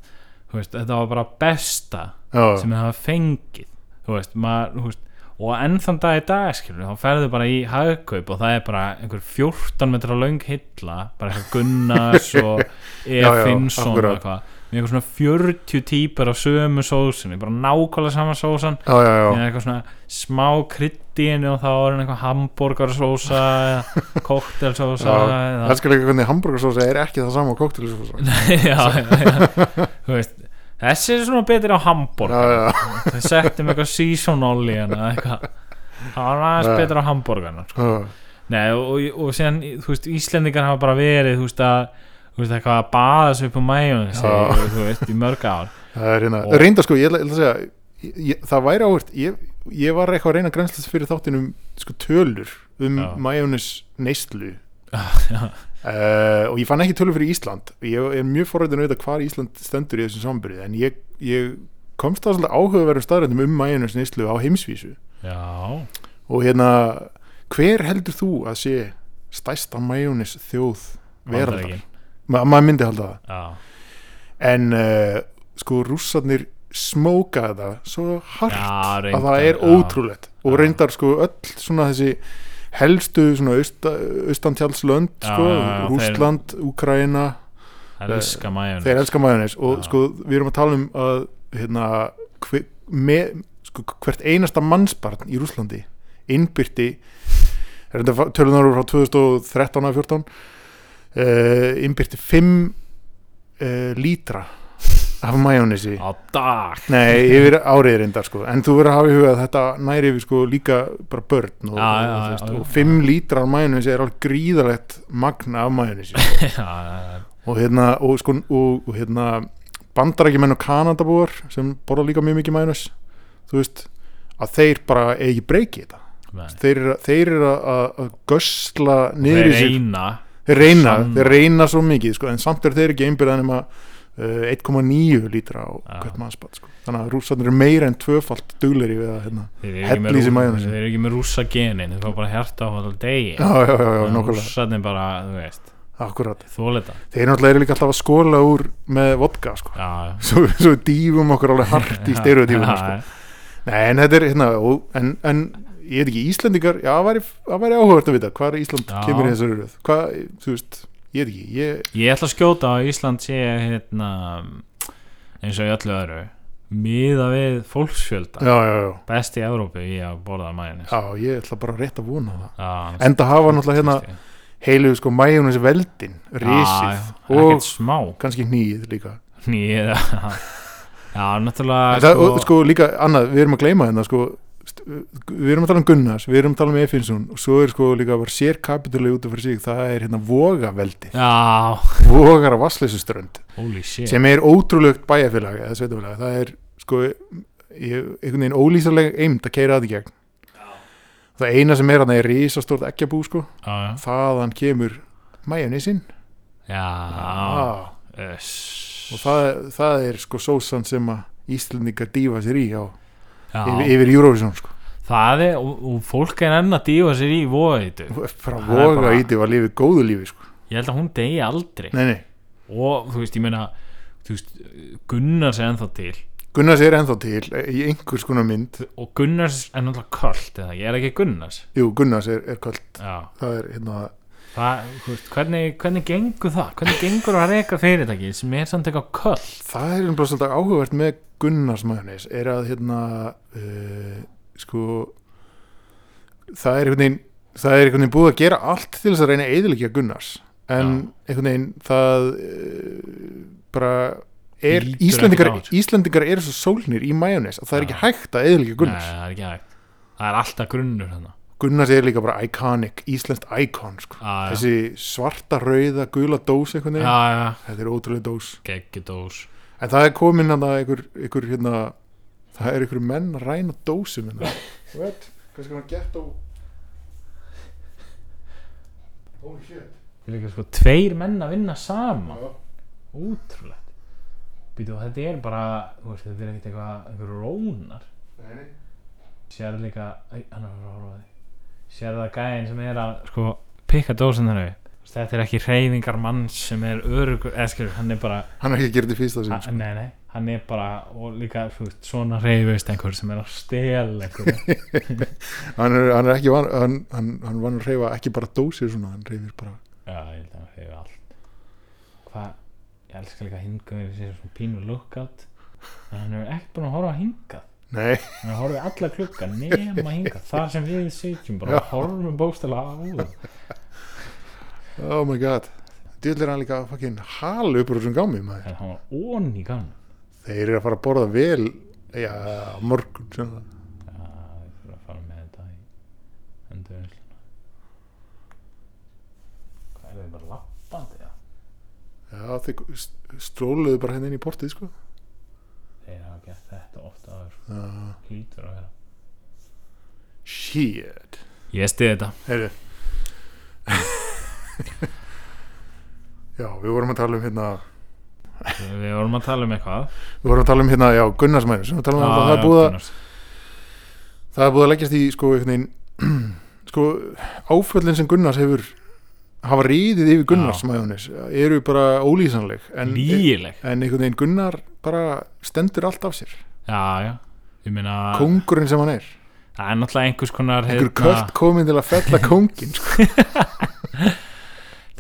Speaker 4: þú veist, þetta var bara besta
Speaker 5: Já.
Speaker 4: sem þeir hafa fengið þú veist, maður, þú veist og enn þann dag í dag, skilur, þá ferðu bara í hagkaup og það er bara einhver 14 metra löng hilla, bara eitthvað Gunnars og E.
Speaker 5: Já, já,
Speaker 4: Finnsson og
Speaker 5: akkurat.
Speaker 4: eitthvað, með eitthvað svona 40 típar af sömu sósunni, bara nákvæmlega sama sósan
Speaker 5: já, já, já,
Speaker 4: með eitthvað svona smá krydd í henni og þá er hann eitthvað hambúrgarsósa eða koktelsósa
Speaker 5: Já,
Speaker 4: eða
Speaker 5: það skal ekki hvernig hambúrgarsósa er ekki það sama og koktelisósa
Speaker 4: já, já, já. Þú veist, þessi er svona betri á hambúrgar þau settum eitthvað seasonal í hann eitthvað það var aðeins
Speaker 5: Já.
Speaker 4: betra á hambúrgarna sko. Nei, og, og, og síðan, þú veist, Íslendingar hafa bara verið, þú veist, að þú veist, eitthvað að baða sig upp á mæjun
Speaker 5: Já.
Speaker 4: þú veist, í mörg ár
Speaker 5: það er hérna
Speaker 4: Og-
Speaker 5: reynda sko, ég ætla ég ætla að segja ég, ég- það væri áhvert, ég, ég var eitthvað að reyna að grænslast fyrir þáttinum sko tölur um
Speaker 4: Já.
Speaker 5: majónis neyslu
Speaker 4: já.
Speaker 5: Uh, og ég fann ekki tölur fyrir Ísland ég er mjög forrættin að vita hvar Ísland stendur í þessum samburði en ég, ég komst að svolítið áhugaverðum staðrættum um majónis neyslu á heimsvísu
Speaker 4: já,
Speaker 5: og hérna, hver heldur þú að sé stærsta majónis þjóð veraldar?
Speaker 4: Bandaríkin.
Speaker 5: Ma maður myndi halda það
Speaker 4: já,
Speaker 5: en uh, sko rússarnir smókaði það svo hart
Speaker 4: Já, reyndar,
Speaker 5: að það er
Speaker 4: já.
Speaker 5: ótrúlegt og
Speaker 4: Já.
Speaker 5: reyndar sko öll svona þessi helstu svona austa, austantjálslönd
Speaker 4: Já,
Speaker 5: sko,
Speaker 4: já, já,
Speaker 5: Rússland, Úkraina
Speaker 4: það elska mæjun
Speaker 5: þeir elska majónis og
Speaker 4: Já.
Speaker 5: sko við erum að tala um að hérna hver, me, sko, hvert einasta mannsbarn í Rússlandi innbyrti tölunar eru frá 2013 að 14 uh, innbyrti 5 uh, lítra af majónisi
Speaker 4: á dag
Speaker 5: nei, yfir árið reyndar sko en þú verður að hafa í huga að þetta næri yfir sko líka bara börn og,
Speaker 4: Já, já,
Speaker 5: og, þú
Speaker 4: já, já.
Speaker 5: og 5 lítrar af majónisi er alveg gríðalegt magna af sko. majónisi
Speaker 4: já,
Speaker 5: og hérna, og, sko, og, og hérna bandarækjumenn og kanadabúar sem borða líka mjög mikið mænus þú veist, að þeir bara eigi ekki breyki þetta,
Speaker 4: nei.
Speaker 5: þeir eru þeir eru að, að, að gösla
Speaker 4: þeir
Speaker 5: niður í sig
Speaker 4: reyna
Speaker 5: þeir reyna,
Speaker 4: Sann-
Speaker 5: þeir reyna svo mikið sko, en samt eru þeir ekki einbyrðan um að uh, 1,9 lítra á
Speaker 4: Já.
Speaker 5: hvert mannsbætt sko. þannig að rússarnir eru meira en tvöfalt dugleiri við að hérna
Speaker 4: þeir eru ekki,
Speaker 5: hella
Speaker 4: með
Speaker 5: í sig
Speaker 4: rú-
Speaker 5: majónesi.
Speaker 4: þeir eru ekki með rúsa genin þeir fá bara hjarta á alltaf degi
Speaker 5: já, já, já, já, nokkulega,
Speaker 4: rússarnir bara, þú veist,
Speaker 5: akkurat
Speaker 4: þólita
Speaker 5: þeir náttúrulega eru líka alltaf að skóla úr með vodka sko.
Speaker 4: já,
Speaker 5: svo, svo dýfum okkur alveg hart í stereotífuna sko.
Speaker 4: Já,
Speaker 5: Nei, en þetta er hérna, og- en, en ég veit ekki, Íslendingar, já, það væri, það væri áhugavert að vita hvað Ísland
Speaker 4: Já.
Speaker 5: kemur í þessari röð hvað, þú veist, ég veit ekki, ég
Speaker 4: ég ætla að skjóta að Ísland sé hérna, eins og í öllu öðru miða við fólksfjölda
Speaker 5: já, já, já,
Speaker 4: best í Evrópu í að borða mæjunis
Speaker 5: já, ég ætla bara rétt að vona það
Speaker 4: já,
Speaker 5: enda hafa náttúrulega hérna heilu, sko, mæjunis veldin, risið
Speaker 4: ekkert
Speaker 5: og
Speaker 4: smá
Speaker 5: kannski hnýið líka
Speaker 4: Ný, já, já, náttúrulega
Speaker 5: sko, það, og, sko, líka annað, við erum að gleyma hérna, sko st- við erum að tala um Gunnars, við erum að tala um Efinsson og svo er sko líka bara sérkapitulega út af fyrir sig, það er hérna vogaveldi
Speaker 4: Já,
Speaker 5: vogar af vassleysuströnd
Speaker 4: holy shit
Speaker 5: sem er ótrúlegt bæjarfélag eða sveitafélag, það er sko ég- einhvern veginn ólýsaleg eimt að keira það í gegn það eina sem er hann er risastórt ekkjabú sko
Speaker 4: Já,
Speaker 5: þaðan kemur majónisinn
Speaker 4: já
Speaker 5: ah.
Speaker 4: Öss.
Speaker 5: og það, það er sko sósan sem að Íslendingar dýfa sér í á,
Speaker 4: Já.
Speaker 5: yfir, yfir Eurovision sko.
Speaker 4: Það er, og, og fólk er enn að dífa sér í voðið
Speaker 5: frá
Speaker 4: Það er
Speaker 5: voga
Speaker 4: bara-
Speaker 5: íti var lífið góðu lífi sko.
Speaker 4: Ég held að hún degi aldrei
Speaker 5: nei, nei.
Speaker 4: Og þú veist, ég meina þú veist, Gunnars er ennþá til
Speaker 5: Gunnars er ennþá til eh, í einhvers konar mynd
Speaker 4: Og Gunnars er náttúrulega költ eða, Ég er ekki Gunnars
Speaker 5: jú, Gunnars er, er kvöld
Speaker 4: Já,
Speaker 5: það er hérna
Speaker 4: það, þú veist, hvernig, hvernig gengur það? Hvernig gengur að reyka fyrirtæki sem er samt eitthvað köll?
Speaker 5: það er einhvern veginn áhugavert með Gunnars majónis er að hérna uh, sko það er einhvern veginn það er einhvern veginn búið að gera allt til þess að reyna eðilegja Gunnars en einhvern veginn það uh, bara er
Speaker 4: Lítur
Speaker 5: Íslendingar,
Speaker 4: ekkert á þessu.
Speaker 5: Íslendingar eru svo sólnir í majónis að það er
Speaker 4: Já.
Speaker 5: ekki hægt að eðilegja Gunnars
Speaker 4: Nei, það er ekki hægt Það er alltaf grunnur hann
Speaker 5: Gunnars er líka bara iconic, íslenskt icon sko.
Speaker 4: Já, já.
Speaker 5: þessi svarta, rauða, gula dós einhvern
Speaker 4: Já,
Speaker 5: veginn,
Speaker 4: já, já,
Speaker 5: þetta er ótrúlega dós
Speaker 4: geggjudós
Speaker 5: En það er komin að einhver, einhver hérna, það er einhver menn að ræna dósum hérna. What? Hvað skal hann gett á? Holy shit.
Speaker 4: Það er ekki sko tveir menn að vinna saman
Speaker 5: Já.
Speaker 4: Útrúlegt Býtu, þetta er bara, þú veist, þetta er ekkert eitthvað einhver rónar
Speaker 5: Nei, nei.
Speaker 4: Sér líka, æ, hann er frá róði Sér það gæðin sem er að sko pikka dósin þennu Þetta er ekki hreyfingar mann sem er örugur eða skilur, hann er bara
Speaker 5: Hann er ekki að gera þetta í fyrsta sinn.
Speaker 4: A- Nei, nei, hann er bara og líka þú veist, svona reyfist einhver sem er að stela einhver
Speaker 5: sko. Hann er, hann er ekki van, hann, hann, hann vann að reyfa ekki bara dósir svona, hann reyfir bara.
Speaker 4: Já, ég held að hann reyfi allt Hvað, ég elska líka hingað við sér svona pínu lookout en hann er ekki búin að horfa að hingað
Speaker 5: Nei,
Speaker 4: hann er að horfa í alla klukka nema hingað þar sem við sitjum bara og horfum bóstala á það
Speaker 5: oh my god. Djöld er hann líka að fucking hala upp úr þessum gámi, maður.
Speaker 4: en hann var ón í gann
Speaker 5: Þeir eru að fara að borða vel, já, á morgun, svona.
Speaker 4: að við fyrir að fara með þetta í endurvinnsluna Hvað er þetta bara lappandi það?
Speaker 5: Já, þeir st- stróluðu bara henni inn í portið, sko.
Speaker 4: Þeir hafa gert þetta ofta áður sko.
Speaker 5: Uh,
Speaker 4: hlýtur að vera
Speaker 5: shit.
Speaker 4: Ég stiði þetta
Speaker 5: Heyrðu Já, við vorum að tala um hérna
Speaker 4: Við vorum að tala um eitthvað
Speaker 5: Við vorum að tala um hérna, já, Gunnarsmænus Við vorum að tala um að það er búið að
Speaker 4: Gunnars.
Speaker 5: Það er búið að leggjast í, sko, einhvern veginn Sko, áföllin sem Gunnars hefur Hafa ríðið yfir Gunnarsmæðunis Eru bara ólýsanleg en,
Speaker 4: Lygileg
Speaker 5: en einhvern veginn Gunnar bara stendur allt af sér
Speaker 4: Já, já Ég meina
Speaker 5: Kóngurinn sem hann er
Speaker 4: Það er náttúrulega einhvers konar
Speaker 5: Einhver
Speaker 4: hérna,
Speaker 5: köld komin til að fella kóngin sko.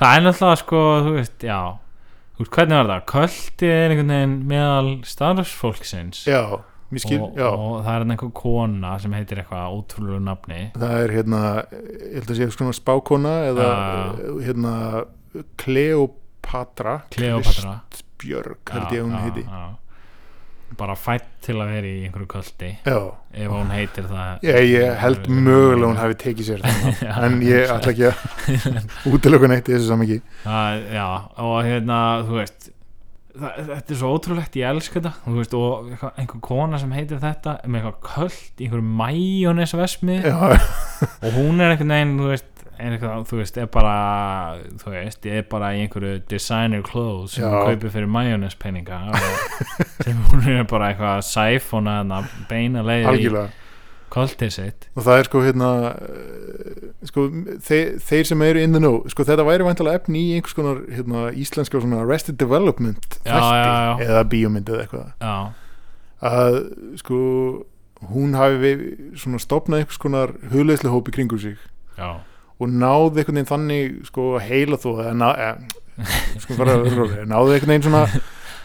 Speaker 4: Það er náttúrulega sko Þú veist, já Þú veist, hvernig var það? Költið er einhvern veginn meðal starfsfólksins
Speaker 5: Já, mér skil,
Speaker 4: og,
Speaker 5: já
Speaker 4: og það er þarna einhver kona sem heitir eitthvað ótrúlegu nafni
Speaker 5: það er hérna ég held að sé svona spákona eða
Speaker 4: Já, já.
Speaker 5: eh, hérna Kleopatra
Speaker 4: Kleopatra
Speaker 5: Kristbjörg held ég að hún
Speaker 4: Já,
Speaker 5: heiti
Speaker 4: já, já. Bara fætt til að vera í einhverju költi
Speaker 5: já,
Speaker 4: Ef hún heitir það
Speaker 5: ég, ég held mögulega hún hafi tekið sér þannig
Speaker 4: Já,
Speaker 5: en ég ætla ekki að útilöku neitt í þessu saman ekki
Speaker 4: það, já, og hérna, þú veist það, þetta er svo ótrúlegt, ég elska þetta þú veist, og eitthvað- einhver kona sem heitir þetta með eitthvað köld, í einhverjum majónesvesmið
Speaker 5: já,
Speaker 4: og hún er einhvern veginn, þú veist er eitthvað, þú veist, er bara þú veist, er bara í einhverju designer clothes sem
Speaker 5: Já.
Speaker 4: hún kaupir fyrir majónespenninga og sem hún er bara eitthvað að sæfona þarna beina leiðir í
Speaker 5: algjörlega
Speaker 4: koldið sitt
Speaker 5: og það er sko hérna eh, sko, þeir, þeir sem eru in the know sko þetta væri vantilega efni í einhvers konar hérna, íslenska svona arrested development
Speaker 4: Já, já, já.
Speaker 5: eða bíómynd eða eitthvað
Speaker 4: já,
Speaker 5: að sko hún hafi við, svona stopnað einhvers konar hugleðslu hópi kringu sig
Speaker 4: já,
Speaker 5: og náði einhvern veginn þannig sko að heila þó eða ná, e, sko bara öðrulega, náði einhvern veginn svona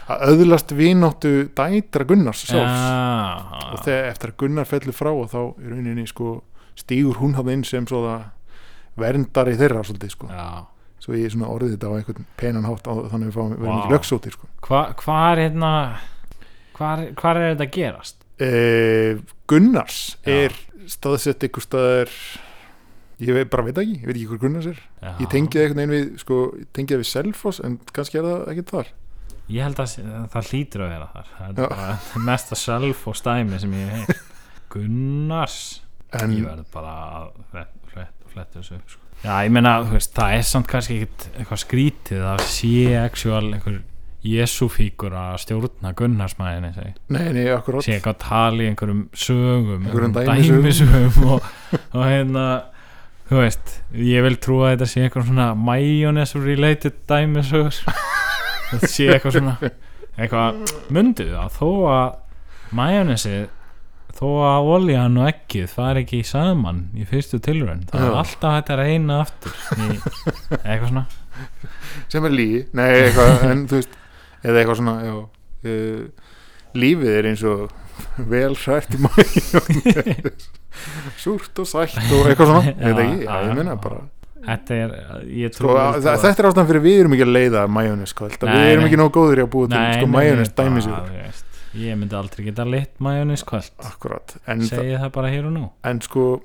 Speaker 5: að öðlast vináttu dætra Gunnars sjálfs
Speaker 4: já
Speaker 5: og þegar eftir að Gunnar fellur frá og þá í rauninni sko stígur hún hafði inn sem svona verndari þeirra svolítið sko
Speaker 4: já
Speaker 5: svo ég svona orðið þetta á einhvern penan hátt á, þannig að við fáum verðum
Speaker 4: Vá.
Speaker 5: ekki lögsóti sko
Speaker 4: Hva- hvað er hérna hvað er þetta að gerast
Speaker 5: Eh, Gunnars
Speaker 4: Já.
Speaker 5: er staðsett einhver staðar ég veit, bara veit það ekki, ég veit ekki hver Gunnars er ég tengi það einhvern veginn við, sko, ég tengi það við Selfoss en kannski er það ekkert þar
Speaker 4: Ég held að sé- það hlýtur að vera þar Það
Speaker 5: Já.
Speaker 4: er bara mesta sjálf og stæmi sem ég hef heilt Gunnars
Speaker 5: en
Speaker 4: Ég verð bara að flett- flett- fletta þessu upp sko. Já, ég meina, þú veist, það er samt kannski ekkit eitthvað skrítið að sé actual einhver jesúfíkur að stjórna Gunnarsmæðinni segi.
Speaker 5: nei, nei, akkurat
Speaker 4: sé eitthvað að tala í einhverjum sögum
Speaker 5: Einhverjum
Speaker 4: dæmisögum og, og hérna þú veist, ég vil trúa að þetta sé eitthvað svona mayonnaise related dæmisögur þetta sé eitthvað svona eitthvað, mundu að þó að mayonnaise þó að oljan og eggið fari ekki saman í fyrstu tilraun það er
Speaker 5: Já.
Speaker 4: alltaf hægt að reyna aftur í, eitthvað svona
Speaker 5: sem er lígi, nei, eitthvað en þú veist, eða eitthvað svona já, uh, lífið er eins og vel hrært í maður súrt og sætt og eitthvað svona
Speaker 4: Já,
Speaker 5: eða ekki, já,
Speaker 4: já,
Speaker 5: ég meina
Speaker 4: já.
Speaker 5: bara
Speaker 4: þetta er, ég
Speaker 5: Sko,
Speaker 4: trúi
Speaker 5: að- þa- þetta er ástæðan fyrir við erum ekki að leiða majónis sko, þetta-
Speaker 4: Nei,
Speaker 5: við erum
Speaker 4: nei.
Speaker 5: ekki nóg góður í að búa til
Speaker 4: Nei,
Speaker 5: sko,
Speaker 4: nei,
Speaker 5: majónis
Speaker 4: ég-
Speaker 5: dæmis
Speaker 4: Ah, þú veist, ég myndi aldrei geta lit majónis kvöld
Speaker 5: akkurat, en, þa-
Speaker 4: segi það bara hér og nú
Speaker 5: en sko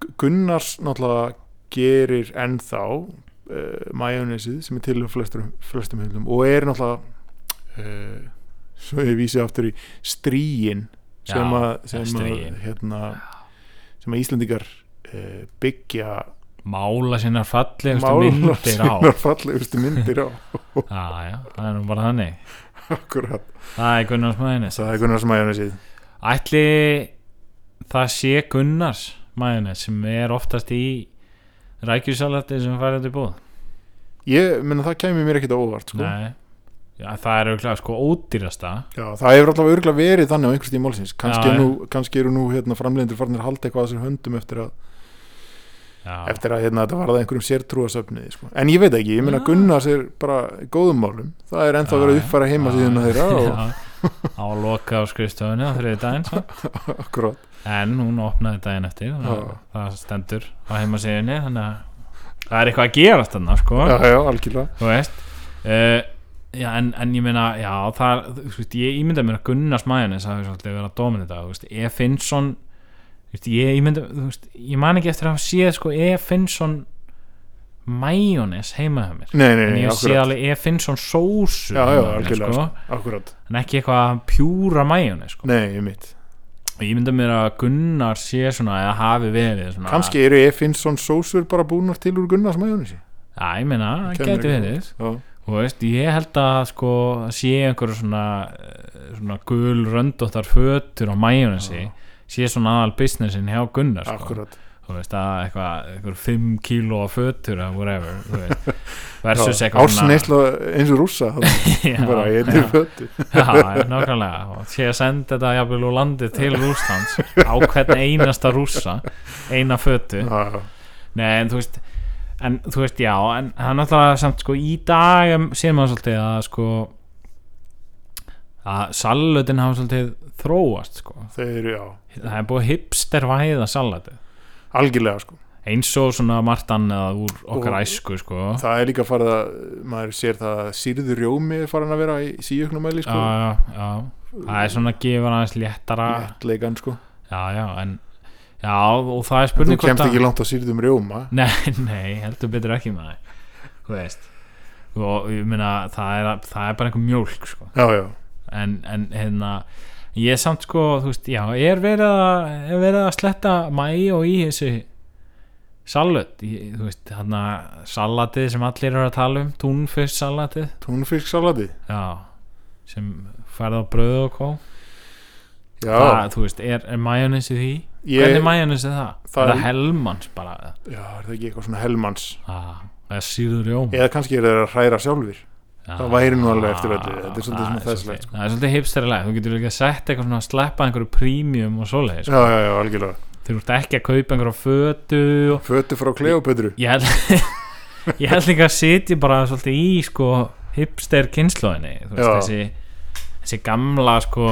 Speaker 5: Gu- Gunnars náttúrulega gerir ennþá uh, majónisið sem er til á flestum, flestum heimlum og er náttúrulega uh, svo ég vísi aftur í stríin sem
Speaker 4: Já,
Speaker 5: að sem að,
Speaker 4: strígin.
Speaker 5: hérna, sem að Íslandingar uh, byggja
Speaker 4: mála sínar fallegustu
Speaker 5: málar
Speaker 4: myndir á
Speaker 5: sínar fallegustu myndir á
Speaker 4: ah, já, það er nú bara þannig
Speaker 5: akkurat
Speaker 4: það er Gunnars majónis
Speaker 5: það er Gunnars majónisið
Speaker 4: ætli það sé Gunnars majónis sem er oftast í rækjusalati sem færið til búð
Speaker 5: Ég menna það kæmi mér ekkit á óvart sko.
Speaker 4: Nei, já, það er auðvitað sko ódýrasta
Speaker 5: Já, það hefur allavega örgulega verið þannig á einhvers tíð málsins kannski,
Speaker 4: Já,
Speaker 5: er
Speaker 4: já.
Speaker 5: nú, kannski eru nú hérna, framleiðindur farnir að halda eitthvað að þessum höndum eftir að,
Speaker 4: já,
Speaker 5: eftir að hérna, þetta varða einhverjum sértrúasöfniði sko. en ég veit ekki, ég menna
Speaker 4: Já.
Speaker 5: Gunnars er bara í góðum málum, það er ennþá
Speaker 4: Já,
Speaker 5: verið að
Speaker 4: já.
Speaker 5: uppfæra heima síðan að þeirra og,
Speaker 4: já, á að loka á skrifstofunni á sko. þriði daginn samt
Speaker 5: akkurat,
Speaker 4: en hún opnaði daginn eftir þannig að
Speaker 5: Já.
Speaker 4: það stendur á heimasíðunni þannig að það er eitthvað að gera þarna sko,
Speaker 5: já, já, algjörlega
Speaker 4: þú veist uh, já, en, en ég meina já, það, þú veist, ég ímynda mér að Gunnars Majanis hafi svolítið verið að dóminu dag veist, E. Finnsson þú veist, ég ímynda, þú veist, ég man ekki eftir að hafa séð sko E. Finnsson Majonis heima hjá mér
Speaker 5: Nei, nei,
Speaker 4: en
Speaker 5: nei,
Speaker 4: ég sé
Speaker 5: akkurat
Speaker 4: alveg E. Finnsson sósu
Speaker 5: Já, já,
Speaker 4: heima hjá mér,
Speaker 5: algjörlega,
Speaker 4: sko,
Speaker 5: akkurat,
Speaker 4: en ekki eitthvað pjúra Majonis sko.
Speaker 5: nei, ég mitt
Speaker 4: og ég myndi mér að Gunnar sé svona eða hafi verið svona
Speaker 5: kannski eru E. Finnsson sósur bara búnar til úr Gunnars majónisi
Speaker 4: já, ég meina, það
Speaker 5: Kemur
Speaker 4: geti
Speaker 5: ekki
Speaker 4: verið Sko.
Speaker 5: Já,
Speaker 4: og veist, ég held að sko sé einhverju svona eh, svona gul röndóttar fötur á majónesi, sé svona aðal businessin hjá Gunnar sko.
Speaker 5: akkurat,
Speaker 4: þú veist, að eitthvað, eitthvað 5 kíló af fötur eða whatever, þú veist versus
Speaker 5: Já,
Speaker 4: eitthvað
Speaker 5: ársneisla eins og rússa það
Speaker 4: já,
Speaker 5: bara, ég
Speaker 4: já.
Speaker 5: er föttu
Speaker 4: Já, já, nákvæmlega og sé að senda þetta jafnvel úr landi til Rúslands á hvern einasta rússa eina fötu
Speaker 5: Já,
Speaker 4: Nei, en þú veist en þú veist, já, en það er náttúrulega samt sko í dag em, sér maður svolítið að sko að salutin hafa svolítið þróast sko,
Speaker 5: þeir eru, já,
Speaker 4: það er búið hipster væða salati,
Speaker 5: algjörlega sko
Speaker 4: eins og svona margt annað úr okkar
Speaker 5: Og-
Speaker 4: æsku sko
Speaker 5: það er líka farið að maður sér það að sýrður rjómi er farin að vera í síjöknumæli
Speaker 4: já,
Speaker 5: sko,
Speaker 4: já, já, það er svona að gefa aðeins léttara,
Speaker 5: léttleikan sko
Speaker 4: já, já en, já, og það er
Speaker 5: þú
Speaker 4: spurning hvort
Speaker 5: kemst
Speaker 4: að-
Speaker 5: ekki langt á sýrðum rjóma
Speaker 4: Nei, nei, heldur betur ekki með það Þú veist og ég meina, það er, það er bara einhver mjólk sko.
Speaker 5: já, já,
Speaker 4: en, en hérna ég samt sko, þú veist, já er verið að, er verið að sletta mæi og í þessu salut, í- þú veist, hann salatið sem allir eru að tala um túnfisk salatið,
Speaker 5: túnfisksalati
Speaker 4: já sem færð á bröðu og kó
Speaker 5: já,
Speaker 4: það, þú veist, er, er majónis í því?
Speaker 5: Ég-
Speaker 4: Ah, hvernig majónis er það?
Speaker 5: Það
Speaker 4: er
Speaker 5: er-
Speaker 4: það helmans bara
Speaker 5: já, er það ekki eitthvað svona helmans
Speaker 4: ah, það er síður rjóm
Speaker 5: eða kannski eru þeir að hræra sjálfur
Speaker 4: það
Speaker 5: Það væri nú alveg eftir öllu, þetta er svolítið svona þesslegt, sko.
Speaker 4: Ah, það er svolítið hipsterilegt, þú getur líka sett eitthvað svona að sleppa einhverju prímjum og svoleiðis
Speaker 5: já, já, já, algjörlega,
Speaker 4: þeir eru ekki að kaupa einhverju fötu og...
Speaker 5: fötu frá Kleopötru
Speaker 4: ég held ég held líka að sitja bara svolítið í sko hipster kynnslóðinni þú veist
Speaker 5: Já.
Speaker 4: þessi þessi gamla sko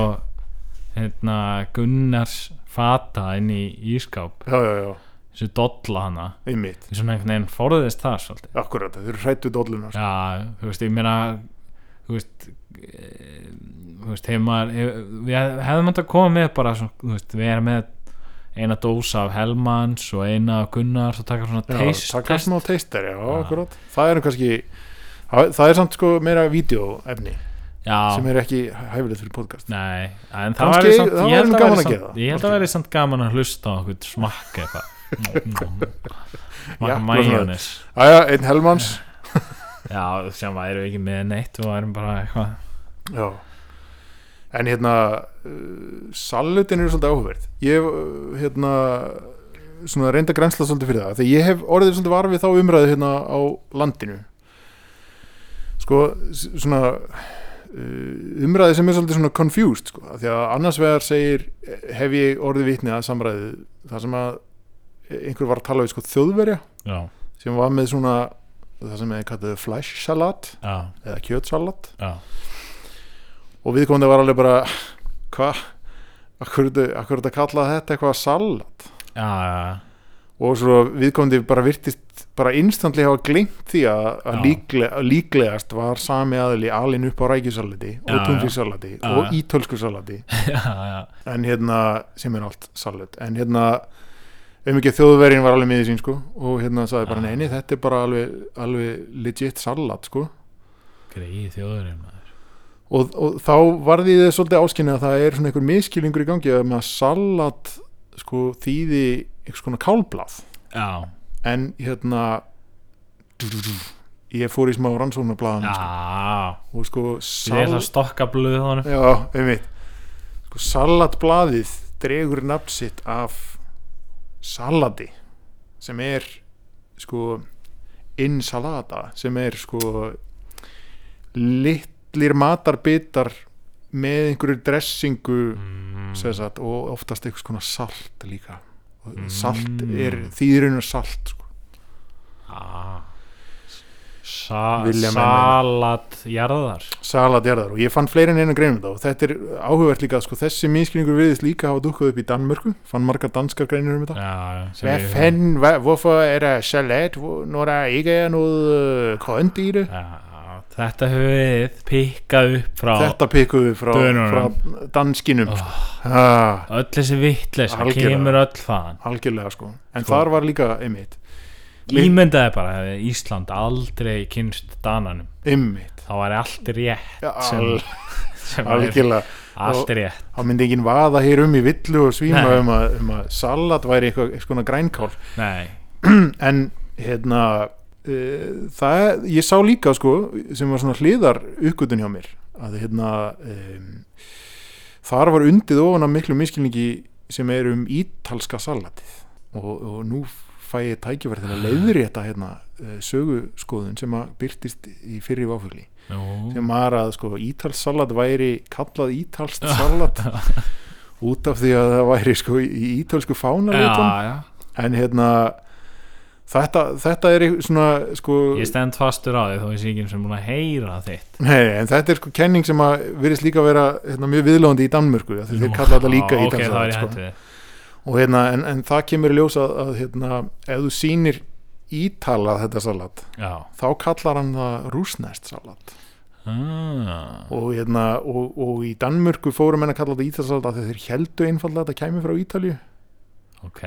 Speaker 4: hérna Gunnars fata inn í ískáp
Speaker 5: já, já, já,
Speaker 4: þessi dolla hana
Speaker 5: einmitt,
Speaker 4: því svona einhvern veginn forðist það svolítið
Speaker 5: akkurat, þeir eru hrættu dóllunar
Speaker 4: já, þú veist, ég meina þú veist, e, þú veist hefur maður hef, við hefðum þetta að koma með bara svona, þú veist, við erum með eina dósa af Helmans og eina af Gunnars og taka svona
Speaker 5: Já,
Speaker 4: taste
Speaker 5: taka
Speaker 4: test
Speaker 5: smá teistar, já, akkurat það er nú kannski, það er samt sko meira vídeoefni sem
Speaker 4: já,
Speaker 5: er ekki hæfilegt fyrir podcast
Speaker 4: nei, en það
Speaker 5: Kannski-
Speaker 4: væri samt
Speaker 5: það
Speaker 4: ég
Speaker 5: væri
Speaker 4: held að
Speaker 5: nú
Speaker 4: væri
Speaker 5: gaman að gera
Speaker 4: samt-
Speaker 5: það.
Speaker 4: ég held að væri samt gaman að hlusta á okkur smakka eitthvað
Speaker 5: Já,
Speaker 4: majónis
Speaker 5: Æja, einn Helmans
Speaker 4: já, sem væri ekki með neitt og væri bara eitthvað
Speaker 5: já. en hérna uh, salutin eru svolítið áhugaverð ég hef uh, hérna svona reynda grensla svolítið fyrir það þegar ég hef orðið svolítið var við þá umræðu hérna á landinu sko s- svona uh, umræði sem er svolítið svona confused sko, af því að annars vegar segir eh, hef ég orðið vitni að samræðu þar sem að einhver var að tala við sko þjóðverja
Speaker 4: já,
Speaker 5: sem var með svona það sem hefði kallaðu flash salat
Speaker 4: já,
Speaker 5: eða kjötsalat
Speaker 4: já
Speaker 5: og viðkomandi var alveg bara hvað, akkur er þetta kallað þetta eitthvað salat
Speaker 4: já, já, já
Speaker 5: og svo viðkomandi bara virtist bara instantli hafa gleymt því að, að,
Speaker 4: Já.
Speaker 5: líkle, að líklegast var sami aðili alin upp á rækjusalati
Speaker 4: Já, já.
Speaker 5: og túnfisksalati
Speaker 4: Já,
Speaker 5: og
Speaker 4: já.
Speaker 5: ítölsku salati
Speaker 4: já, já,
Speaker 5: en hérna, sem er allt salat en hérna um ekki þjóðverjinn var alveg miðið sín sko og hérna sagði bara
Speaker 4: Já.
Speaker 5: neini þetta er bara alveg, alvei legit salat sko
Speaker 4: greið þjóðurinn maður
Speaker 5: og, og þá varði þið svolítið áskynni að það er svona einhver miskilingur í gangi að með að salat sko þýði einhvers konar kálblað
Speaker 4: já,
Speaker 5: en hérna dú, dú, dú, ég fór í smá rannsóknarblaðan sko,
Speaker 4: já,
Speaker 5: og sko
Speaker 4: ég ætla
Speaker 5: sal,
Speaker 4: að stokka blöð honum
Speaker 5: já, einmitt, sko, salatblaðið dregur nafn sitt af salati sem er sko insalata sem er sko litlir matarbitar með einhverju dressingu
Speaker 4: Mm,
Speaker 5: sem sagt, og oftast einhvers konar salt líka Og salt
Speaker 4: Mm.
Speaker 5: er þýðurinn salt sko.
Speaker 4: já. Sa
Speaker 5: Vilja menn
Speaker 4: salat jarðar
Speaker 5: salatjarðar og ég fann fleiri en einu greinum þetta og þetta er áhugavert líka sko, þessi miskilningur viðist líka hafa dukkað upp í Danmörku fann margar danskar greinir um þetta
Speaker 4: já, sem
Speaker 5: Hvad
Speaker 4: ég-
Speaker 5: fanden, hva, hvorfor er der salat, hvor, når der ikke er noget øh, grønt i det?
Speaker 4: já, þetta höfum við pikkað upp frá
Speaker 5: Þetta pikkuðu frá,
Speaker 4: Dönunum.
Speaker 5: frá danskinum
Speaker 4: Oh.
Speaker 5: sko. ah,
Speaker 4: öll þessi vittlis
Speaker 5: Algjörlega.
Speaker 4: kemur öll þaðan
Speaker 5: Algjörlega sko En
Speaker 4: Sko.
Speaker 5: þar var líka einmitt Við-
Speaker 4: ímyndaði bara að Ísland aldrei kynst dananum
Speaker 5: Einmitt
Speaker 4: þá var allt rétt
Speaker 5: Ja,
Speaker 4: sem,
Speaker 5: al,
Speaker 4: sem er,
Speaker 5: Algjörlega
Speaker 4: allt rétt
Speaker 5: Það myndi enginn vaða hér um í villu og svíma
Speaker 4: Nei.
Speaker 5: um að, um að salat væri eitthvað, eitthvað svona grænkál
Speaker 4: nei,
Speaker 5: en hérna uh, það, ég sá líka sko sem var svona hliðar uppgötun hjá mér að hérna um, þar var undið ofan af miklu miskilningi sem er um ítalska salatið og, og nú fæ ég tækifæri til að leiðri þetta hérna eh, söguskoðun sem að byrtist í fyrri váfugli
Speaker 4: nú
Speaker 5: sem var að sko ítalsk salat væri kallað ítalskt salat út af því að það væri sko í ítalsku
Speaker 4: já,
Speaker 5: fánalitum
Speaker 4: já,
Speaker 5: en hérna þetta, þetta er eitthvað svona sko,
Speaker 4: ég stend fastur á því þó ég sé ekki sem búin að heyra þitt
Speaker 5: nei, en þetta er sko kenning sem að virðist líka að vera hérna, mjög viðlóðandi í Danmörku af því þeir kalla þetta
Speaker 4: Já,
Speaker 5: líka í
Speaker 4: ok, þá er ég
Speaker 5: Danmörku
Speaker 4: hættu
Speaker 5: sko.
Speaker 4: við
Speaker 5: og hérna, en, en það kemur í ljós að, að hérna, ef þú sýnir ítala þetta salat
Speaker 4: já
Speaker 5: þá kallar hann það rúsnest salat
Speaker 4: ah,
Speaker 5: og, hérna, og, og í Danmörku fórum menn að kalla þetta ítalsalat af því þeir heldu einfallega að þetta kæmi frá Ítalju
Speaker 4: ok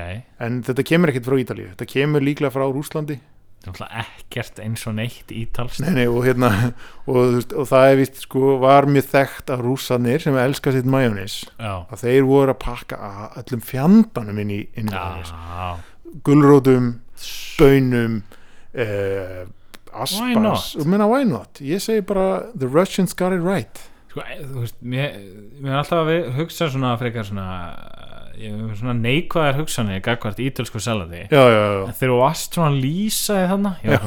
Speaker 5: en þetta kemur ekkert frá Ítalju, þetta kemur líklega frá Rúslandi
Speaker 4: það er náttúrulega ekkert eins og neitt ítalst
Speaker 5: Nei, nei, og hérna og, þú veist, og það er vist sko var mjög þekkt að rússanir sem elska sitt majónis
Speaker 4: já
Speaker 5: að þeir voru að pakka að öllum fjandanum inn í, inn í majónis
Speaker 4: já
Speaker 5: gulrótum, bönum eh,
Speaker 4: Why not?
Speaker 5: aspas og meina why not ég segi bara the Russians got it right
Speaker 4: sko, eh, þú veist mér, mér er alltaf að við hugsa svona frekar svona ég hef svona neikvæðar hugsanir gagvart ítalsku salati
Speaker 5: já, já, já,
Speaker 4: En þegar þú varst svona að lýsa því þannig ég var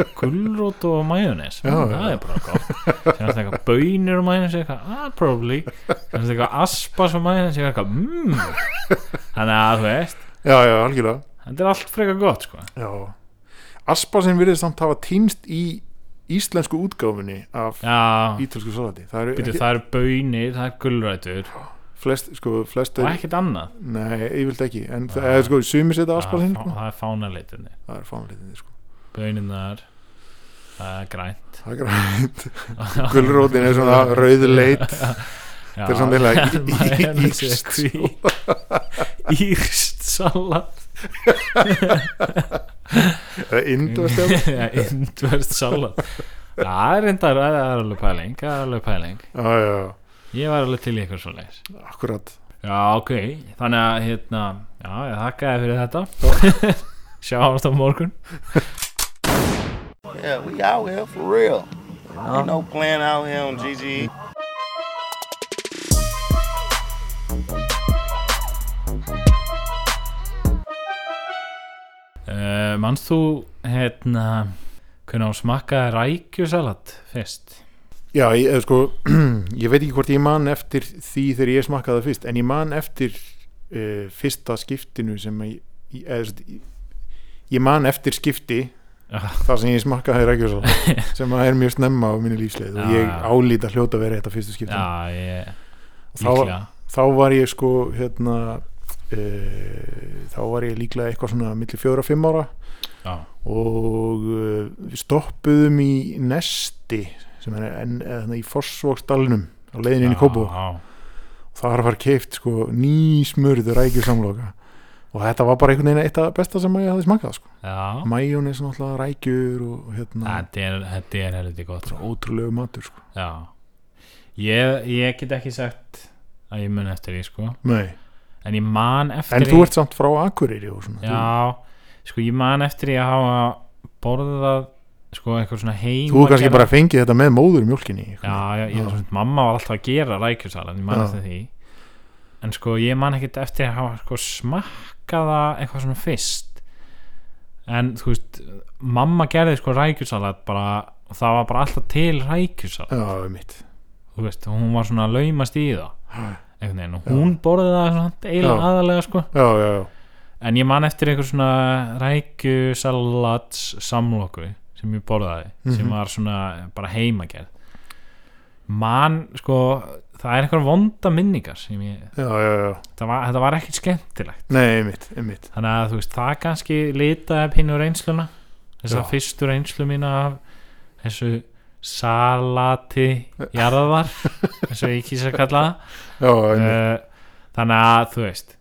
Speaker 4: svona gulrót og majónis
Speaker 5: Já,
Speaker 4: það
Speaker 5: já.
Speaker 4: er bara gott sem er eitthvað bönir og majónis eitthvað, ah, probably sem er eitthvað aspas og majónis ég var eitthvað, mmm þannig að þú veist,
Speaker 5: já, já, algjörlega
Speaker 4: þetta er allt frekar gott sko.
Speaker 5: já. aspasin virðist samt hafa týnst í íslensku útgáfunni af
Speaker 4: já,
Speaker 5: ítölsku salati það eru
Speaker 4: Býtu,
Speaker 5: ekki,
Speaker 4: það eru bönir, það er gulrætur
Speaker 5: flest, sko, flest
Speaker 4: og ekkert annað
Speaker 5: Nei, yfirlt ekki En það er sko, sumir setja
Speaker 4: það
Speaker 5: asparinn
Speaker 4: er Ah. fá-
Speaker 5: sko.
Speaker 4: það er fánaleitinni
Speaker 5: Það er fánalitinni sko.
Speaker 4: böninnar það er grænt
Speaker 5: það er grænt gulrótin er svona rauðleit
Speaker 4: Já,
Speaker 5: Þetta er svona eiginlega í- sko. í- í-
Speaker 4: Majónes er
Speaker 5: írst
Speaker 4: hví- Írst salat
Speaker 5: eða indvast eða
Speaker 4: Já, Indverst salat Já, Það er reyndar, það er alveg pæling Það er alveg pæling
Speaker 5: já, já, já,
Speaker 4: Ég var alveg til í eitthvað svoleiðis
Speaker 5: akkurat
Speaker 4: Já, ok, þannig að hérna Já, ég þakkaði fyrir þetta Sjáumst á morgun
Speaker 7: Yeah, we out here for real. Ain't no plan out here on E. GGE.
Speaker 4: uh, Manst þú hérna Hvernig á smakkaði rækjusalat fyrst?
Speaker 5: já, ég, eða sko, ég veit ekki hvort ég man eftir því þegar ég smakkaði það fyrst en ég man eftir uh, fyrsta skiptinu sem ég, ég, eða, sem sagt, ég, ég man eftir skipti
Speaker 4: Já.
Speaker 5: þar sem ég smakkaði rækjósal sem að er mjög snemma á minni lífsleið og
Speaker 4: Já,
Speaker 5: ég
Speaker 4: já.
Speaker 5: álít að hljóta að vera þetta fyrstu skiptinu
Speaker 4: Já, ég
Speaker 5: þá,
Speaker 4: Líklega
Speaker 5: þá var ég sko hérna uh, þá var ég líklega eitthvað svona millir fjóra og fimm ára
Speaker 4: Já,
Speaker 5: og uh, við stoppuðum í Nesti sem er en, eða, þarna í Fossvogsdalnum á leiðinni inn í Kópú
Speaker 4: Já,
Speaker 5: þar var keift sko ný smurð rækjusamloka og þetta var bara einhvern veginn eitt af besta sem ég hafði smakað sko.
Speaker 4: já.
Speaker 5: majónis náttúrulega rækjur og hérna
Speaker 4: Þetta er, þetta er heldur gott sko.
Speaker 5: ótrúlegu matur sko.
Speaker 4: Já ég, ég get ekki sagt að ég mun eftir því sko
Speaker 5: Nei.
Speaker 4: En ég man eftir
Speaker 5: en
Speaker 4: því
Speaker 5: þú ert samt frá Akureyri og svona
Speaker 4: Já, sko ég man eftir því að hafa borðað sko eitthvað svona heim
Speaker 5: þú, þú kannski bara fengið þetta með móður mjólkinni
Speaker 4: Já, já, ég, svona, mamma var alltaf að gera rækjusalan, ég man
Speaker 5: Já.
Speaker 4: eftir því En sko ég man ekkit eftir að hafa sko smakkaða eitthvað svona fyrst En þú veist, mamma gerði sko rækjusalat bara og það var bara alltaf til rækjusalat
Speaker 5: já, mitt
Speaker 4: þú veist, hún var svona að laumast í það einhvern veginn, og hún borðið það svona eiginlega
Speaker 5: Já.
Speaker 4: aðalega sko
Speaker 5: já, já, já
Speaker 4: en ég man eftir einhver svona rækju salats samloku sem ég borðaði, sem var svona bara heimagerð man, sko, það er einhver vonda minningar sem ég,
Speaker 5: já, já, já.
Speaker 4: það var, þetta var ekkit skemmtilegt
Speaker 5: Nei, einmitt, einmitt
Speaker 4: þannig að þú veist, það kannski litaði pínu reynsluna þess að
Speaker 5: Já.
Speaker 4: fyrstu reynslu mína af þessu salati jarðar eins og ég kýsa að kalla það
Speaker 5: Já, einmitt
Speaker 4: uh, þannig að þú veist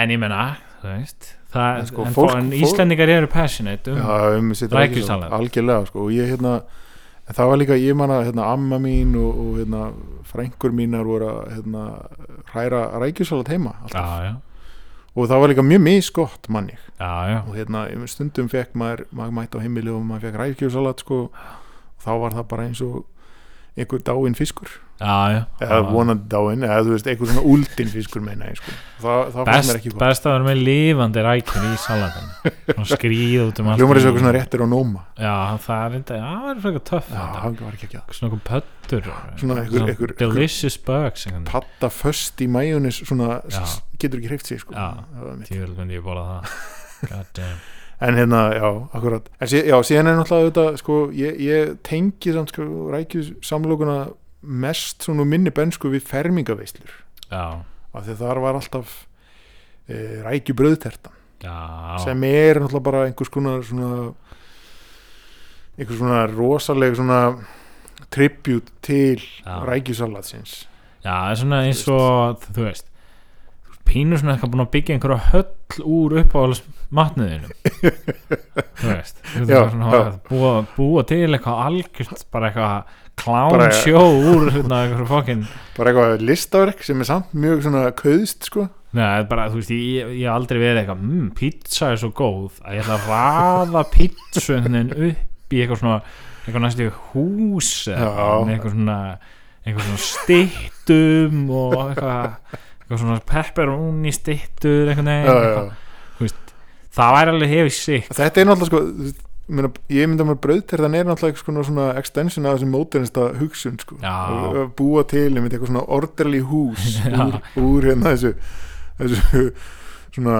Speaker 4: en ég menna þú veist það,
Speaker 5: En sko,
Speaker 4: en,
Speaker 5: fólk-
Speaker 4: fólk, en
Speaker 5: fólk-
Speaker 4: Íslendingar eru passionate um
Speaker 5: Já, um sitt
Speaker 4: Rækjusalat.
Speaker 5: rækjusalat, Algjörlega, sko Og ég, hérna En það var líka, ég manna, hérna, amma mín og, og hérna, frængur mínar voru að, hérna, hræra rækjusalat heima
Speaker 4: já,
Speaker 5: alltaf.
Speaker 4: já,
Speaker 5: Og það var líka mjög misgott manni.
Speaker 4: já, já.
Speaker 5: Og hérna, stundum fekk maður, maður mætti á heimili og maður fekk rækjusalat, sko. Og þá var það bara eins og einhver dáinn fiskur.
Speaker 4: Já, já.
Speaker 5: Eða vonandi dáinn, eða þú veist, einhver svona úldinn fiskur, meina ég, sko. Það, það fannst mér
Speaker 4: best,
Speaker 5: ekki gott.
Speaker 4: best að vera með lifandi rækjur í salatinu skrýð út um allt
Speaker 5: Hljómar eins og eitthvað svona réttir og nóma.
Speaker 4: já, það er enda, já, það er frekar töff
Speaker 5: Já,
Speaker 4: þetta.
Speaker 5: það var ekki ekki að.
Speaker 4: svona okkur pöttur
Speaker 5: Svona einhver- einhver-
Speaker 4: delicious bugs einhvern veginn.
Speaker 5: patta föst í majónis svona
Speaker 4: Já.
Speaker 5: s- getur ekki hreift sig sko.
Speaker 4: Já.
Speaker 5: Það var mitt.
Speaker 4: Djöfull myndi ég borða það god damn
Speaker 5: en hérna, já, akkurat en sí, já, síðan er náttúrulega þetta sko, ég, ég tengi samt sko, rækjus samlokuna mest svona úr minni bensku við fermingaveislur
Speaker 4: já,
Speaker 5: af því að þar var alltaf e, rækjubröðtertan
Speaker 4: já,
Speaker 5: sem er náttúrulega bara einhvers konar svona einhvers svona rosaleg svona tribut til
Speaker 4: Já.
Speaker 5: rækjusalatsins
Speaker 4: Já, það er svona eins og þú veist þú ert pínur svona eitthvað búin að byggja einhverja höll úr uppáhalds matniðinu þú veist þú veist
Speaker 5: Já,
Speaker 4: svona að
Speaker 5: já.
Speaker 4: búa, búa til eitthvað algjört bara eitthvað klán
Speaker 5: Bara-
Speaker 4: sjó úr hérna einhverju fokkin Nei,
Speaker 5: bara eitthvað listaverk sem er samt mjög svona köðst sko
Speaker 4: það er bara, þú veist, ég, ég hef aldrei verið eitthvað mmm, pizza er svo góð að ég ætla að raða pizzu einhvern veginn upp í eitthvað svona eitthvað næstu hús eða eitthvað, með
Speaker 5: Já.
Speaker 4: eitthvað svona eitthvað svona stittum og eitthvað eitthvað svona pepperoni stittur eitthvað neginn
Speaker 5: já, já, já.
Speaker 4: það væri alveg hefði sick
Speaker 5: þetta er náttúrulega sko þú veist, ég meina, ég myndi að maður brauðterðan er náttúrulega eitthvað svona, svona extension af þessum móternista hugsun sko.
Speaker 4: Já.
Speaker 5: Að- að búa til einmitt eitthvað svona orderly hús úr, úr hérna þessu, þessu svona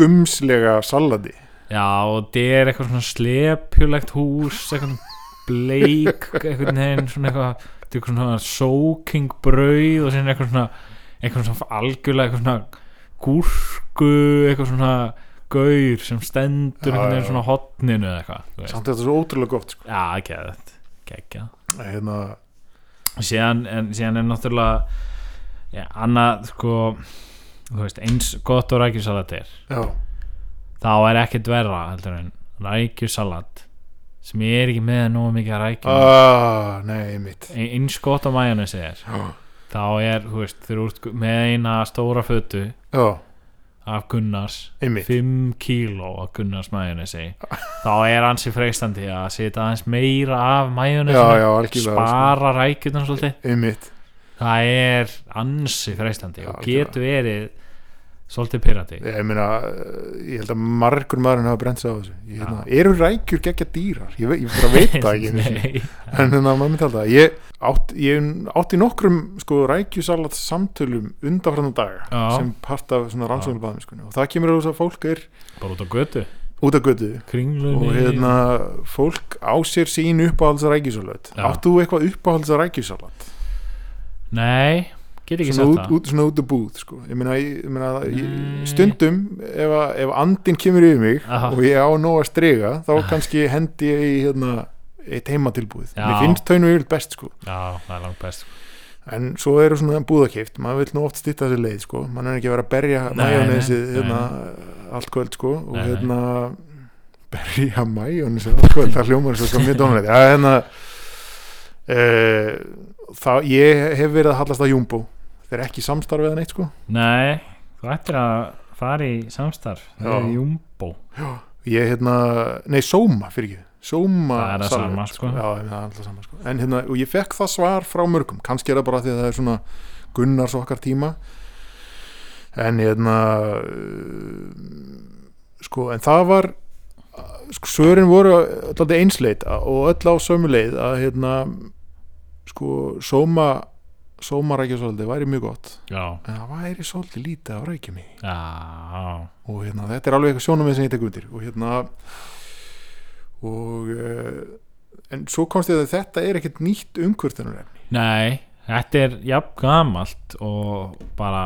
Speaker 5: gumslega saladi
Speaker 4: já og þetta er eitthvað svona slepjulegt hús eitthvað bleik eitthvað neginn svona eitthvað þetta er eitthvað svona soaking brauð og síðan eitthvað svona eitthvað svona algjörlega eitthvað svona gúrku eitthvað svona gaur sem stendur einhvern
Speaker 5: Já, já.
Speaker 4: veginn svona á hotninu eða eitthvað þú veist.
Speaker 5: samt er þetta svo ótrúlega gott sko.
Speaker 4: Já, ekki að þetta, ekki að
Speaker 5: hérna,
Speaker 4: síðan, en, síðan er náttúrulega já, annað sko þú veist, eins gott og rækjusalat er
Speaker 5: já,
Speaker 4: þá er ekkert verra heldur en rækjusalat sem ég er ekki með nógu mikið að rækjum
Speaker 5: ah, nei, mitt
Speaker 4: Ein- eins gott og majónis er
Speaker 5: Já.
Speaker 4: þá er, þú veist, þeir eru út með eina stóra fötu
Speaker 5: já,
Speaker 4: af Gunnars
Speaker 5: Einmitt.
Speaker 4: 5 kíló af Gunnars majónesi
Speaker 5: Ah.
Speaker 4: þá er hans í freistandi að setja aðeins meira af
Speaker 5: Já, já,
Speaker 4: majónesinu
Speaker 5: algjörlega, sko.
Speaker 4: spara rækjurnar svolítið
Speaker 5: einmitt
Speaker 4: það er ansi freistandi
Speaker 5: Já,
Speaker 4: og getur verið svolítið pyrrandi
Speaker 5: ég meina, eh, ég held að margur maðurinn hafa brent sig á þessu ég, hérna, eru rækjur geggja dýrar ég, ve ég bara veit það ekki einu sinni. en þannig að maður myndi alltaf ég átti, ég átti nokkrum sko, rækjusalat samtölum undanfrandan daga
Speaker 4: Já.
Speaker 5: sem part af svona rannsóknarbæðum sko. og það kemur að fólk er
Speaker 4: bara út á götu,
Speaker 5: út af götu og
Speaker 4: kringlunni
Speaker 5: hérna fólk á sér sín uppáhalds rækjusalat
Speaker 4: Já.
Speaker 5: áttu þú eitthvað uppáhalds rækjusalat
Speaker 4: nei, get ekki
Speaker 5: svona
Speaker 4: sett
Speaker 5: út,
Speaker 4: það
Speaker 5: út, svona út af búð sko. ég meina, ég, ég meina
Speaker 4: Nei.
Speaker 5: ég, stundum ef, að- ef andin kemur yfir mig
Speaker 4: Aha.
Speaker 5: og ég á nóg að strega þá kannski hendi ég í hérna eitt heimatilbúið,
Speaker 4: Já.
Speaker 5: mér finnst þau nú yfir best sko
Speaker 4: já, það er langt best
Speaker 5: en svo eru svona búðakift maður vil nú oft stýta þessi leið sko maður er ekki að vera að berja
Speaker 4: Nei,
Speaker 5: majónesið
Speaker 4: nei,
Speaker 5: hérna, allt kvöld sko og
Speaker 4: Nei, nei.
Speaker 5: hérna berja majónesið allt kvöld það hljómar svo mjög dónulegt ja, hérna, uh, það, ég hef verið að hallast að jumbo þeir eru ekki samstarfið eða neitt sko
Speaker 4: nei, þú ættir að fara í samstarf
Speaker 5: Já.
Speaker 4: í Jumbo
Speaker 5: ég hérna, nei Sóma fyrir ekki Sóma
Speaker 4: Það er það
Speaker 5: salat,
Speaker 4: sama, sko.
Speaker 5: Já, það er alltaf sama sko en hérna, og ég fekk það svar frá mörgum kannski er það bara því að það er svona Gunnars okkar tíma en hérna eh, sko, en það var sko, svörin voru alltaf einsleit og öll á sömu leið að hérna sko, Sóma Sóma rækjusóldi væri mjög gott
Speaker 4: já,
Speaker 5: en það væri svolítið lítið af rækjum í
Speaker 4: já,
Speaker 5: og hérna, þetta er alveg eitthvað sjónumið sem ég tek undir og hérna og uh, en svo komst ég að þetta er ekkert nýtt umkvörtunarefni
Speaker 4: Nei, þetta er jafn gamalt og bara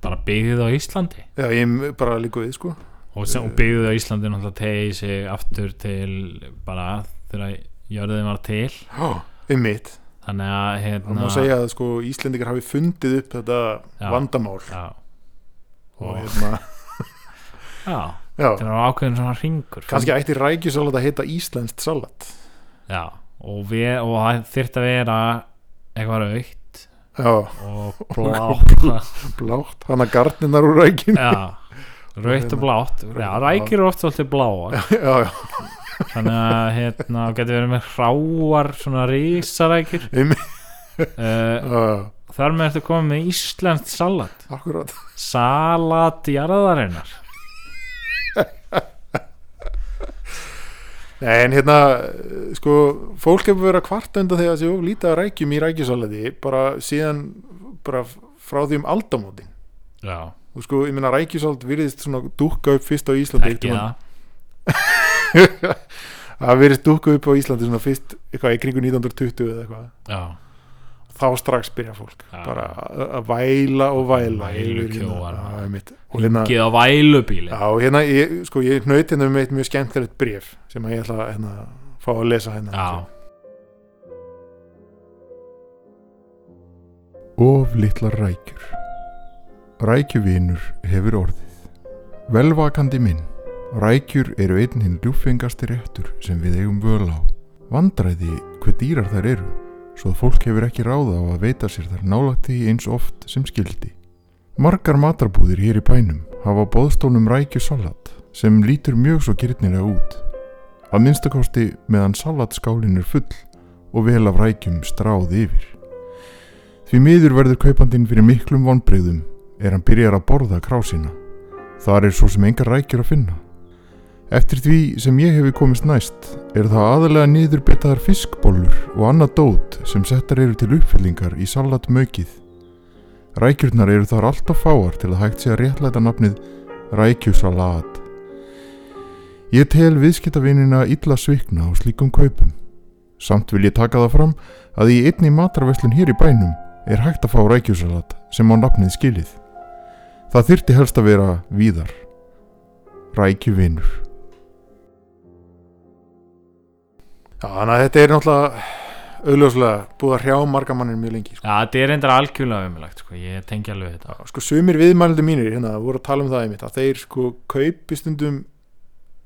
Speaker 4: bara byggðið á Íslandi
Speaker 5: eða ég bara líka við sko
Speaker 4: og, sem, og byggðið á Íslandi náttúrulega tegið sig aftur til bara þegar jörðin var til
Speaker 5: um mitt,
Speaker 4: þannig að
Speaker 5: það
Speaker 4: hérna
Speaker 5: má segja að sko Íslendingar hafi fundið upp þetta
Speaker 4: Já.
Speaker 5: vandamál
Speaker 4: Já,
Speaker 5: og hérna,
Speaker 4: já
Speaker 5: já,
Speaker 4: þetta er ákveðin svona ringur
Speaker 5: kannski ætti rækjusalat að heita Íslenskt salat
Speaker 4: Já, og, við, og það þyrfti að vera eitthvað raukt
Speaker 5: já,
Speaker 4: og blátt
Speaker 5: blátt, hana garninar úr rækjun já,
Speaker 4: Já, raukt og blátt Já, rækir eru oft svolítið bláar
Speaker 5: já,
Speaker 4: þannig að hérna getur verið með hráar svona rísarækir
Speaker 5: um
Speaker 4: uh,
Speaker 5: já,
Speaker 4: þar með ertu komið með íslenskt salat
Speaker 5: akkurat
Speaker 4: salat jarðarinnar
Speaker 5: Nei, en hérna, eh, sko, fólk hefur verið að kvarta undan þegar þessi of lítið að rækjum í rækjusalati bara síðan bara frá því um aldamótin
Speaker 4: já,
Speaker 5: og sko, ég meina rækjusalt virðist svona dúkka upp fyrst á Íslandi
Speaker 4: ekki
Speaker 5: einhvern
Speaker 4: það
Speaker 5: tímann. það virðist dúkka upp á Íslandi svona fyrst eitthvað í kringu 1920 eða eitthvað
Speaker 4: já,
Speaker 5: þá strax byrja fólk
Speaker 4: Já.
Speaker 5: bara að að væla og væla
Speaker 4: Vælu
Speaker 5: yfir hérna.
Speaker 4: kjóar.
Speaker 5: Já, einmitt. og hérna,
Speaker 4: ekki á vælubíli
Speaker 5: já, og hérna ég, sko, ég nöyti hérna um eitt mjög skemmtilegt bref sem að ég ætla að hérna, fá að lesa hérna
Speaker 4: já,
Speaker 5: Of litlar rækjur Rækjuvinur hefur orðið Velvakandi minn Rækjur eru einn hinn ljúfengasti réttur sem við eigum völ á Vandræði hver dýrar þær eru svo að fólk hefur ekki ráða á að veita sér þar nálægt því eins oft sem skildi Margar matarbúðir hér í bænum hafa á boðstólnum rækjusalat sem lítur mjög svo gyrnilega út að minnstakosti meðan salatskálin er full og vel af rækjum stráð yfir Því miður verður kaupandinn fyrir miklum vonbreyðum er hann byrjar að borða krásina. Þar er svo sem engar rækjur að finna. Eftir því sem ég hefi komist næst er það aðalega niðurbetaðar fiskbólur og annað dót sem settar eru til uppfyllingar í salatmaukið. Rækjurnar eru þar alltaf fáar til að hægt sé að réttlæta nafnið rækjusalat. Ég tel viðskiptavinina illa svikna á slíkum kaupum. Samt vil ég taka það fram að í einni matarveslun hér í bænum er hægt að fá rækjusalat sem á nafnið skilið. Það þyrti helst að vera víðar.
Speaker 8: rækjuvinur
Speaker 5: Já, þannig að þetta er náttúrulega auðljóslega búið að hrjá marga mannir mjög lengi sko.
Speaker 4: Já, þetta er reyndar algjörlega umlagt sko. Ég tengi alveg þetta
Speaker 5: sko sumir viðmælundu mínir hérna voru að tala um það einmitt að þeir sko kaupi stundum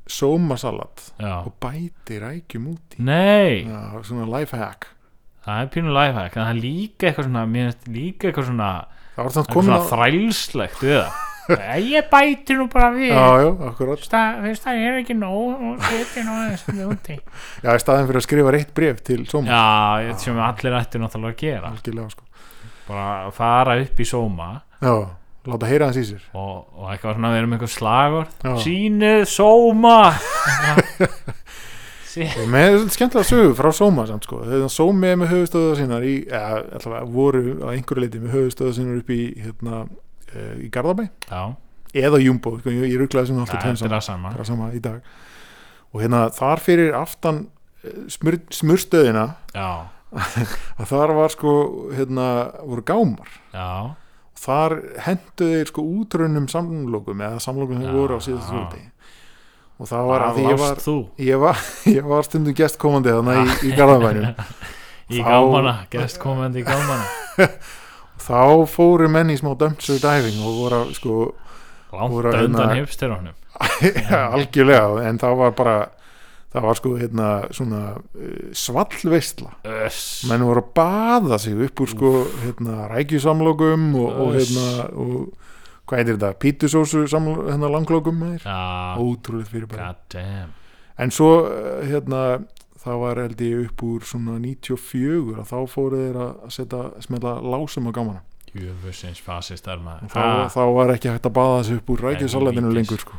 Speaker 5: sómasalat
Speaker 4: Já.
Speaker 5: og bæti rækjum út í
Speaker 4: Nei,
Speaker 5: Já, svona lifehack
Speaker 4: það er pínu lifehack en það er líka eitthvað svona, mér finnst líka eitthvað svona,
Speaker 5: það var þannig
Speaker 4: eitthvað
Speaker 5: komin
Speaker 4: svona
Speaker 5: á
Speaker 4: þrælslegt við það Nei, Ég bæti nú bara við
Speaker 5: Já, já, akkurat
Speaker 4: Veist það- veist það, ég er ekki nóg og setja nú aðeins þarna úti.
Speaker 5: Já, í staðin fyrir að skrifa reitt bref til sóma
Speaker 4: Já, ég- sem allir ættu náttúrulega að gera
Speaker 5: Algjörlega, sko
Speaker 4: bara að fara upp í sóma
Speaker 5: Já, láta heyra hans í sér
Speaker 4: og, og eitthvað svona við erum eitthvað slagor
Speaker 5: Já.
Speaker 4: sínið sóma Sí-
Speaker 5: Og með svolítið skemmtilega sögu frá Sóma samt sko þegar Sómi er með höfustöðar sínar í, eða allavega voru á einhverju leiti með höfustöðar sínar upp í hérna, uh, í Garðabæ
Speaker 4: Já,
Speaker 5: eða Jumbo, sko, ég, ég rugglaði sem alltaf tveim
Speaker 4: þetta er það sama
Speaker 5: saman það er sama í dag og hérna þar fyrir aftan eh, smur, smurstöðina
Speaker 4: Já,
Speaker 5: að þar var sko hérna voru gámar
Speaker 4: já,
Speaker 5: og þar henduðu þeir sko útrunum samlokum eða samlokum sem
Speaker 4: Já,
Speaker 5: voru á síðast
Speaker 4: já.
Speaker 5: fjöldi og það var að því
Speaker 4: Hvar
Speaker 5: ég var
Speaker 4: varst þú
Speaker 5: ég var, ég var stundum gestkomandi þannig í, í Garðabænum
Speaker 4: í
Speaker 5: Þá-
Speaker 4: gámana, gest komandi í gámana
Speaker 5: þá fóru menn í smá dumpster diving og voru að, sko
Speaker 4: langt
Speaker 5: Voru að
Speaker 4: undan
Speaker 5: hérna-
Speaker 4: hipsterunum
Speaker 5: algjörlega en það var bara það var sko hérna svona uh, svallveistla
Speaker 4: Öss,
Speaker 5: menn voru að baða sig upp úr sko hérna rækjusamlokum og, og
Speaker 4: Uss.
Speaker 5: hérna og hvað heitir þetta, pítusósu samlo- hérna langlokum er
Speaker 4: já,
Speaker 5: ótrúlega fyrir bara
Speaker 4: god damn
Speaker 5: en svo eh, hérna það var held ég upp úr svona 94 að þá fóru þeir að setja smelta lásum á gamana
Speaker 4: Jöfusins fasistar maður Ah,
Speaker 5: og þá, þá var ekki hægt að baða þessu upp úr rækjusalatinu
Speaker 4: Helvítis.
Speaker 5: lengur sko.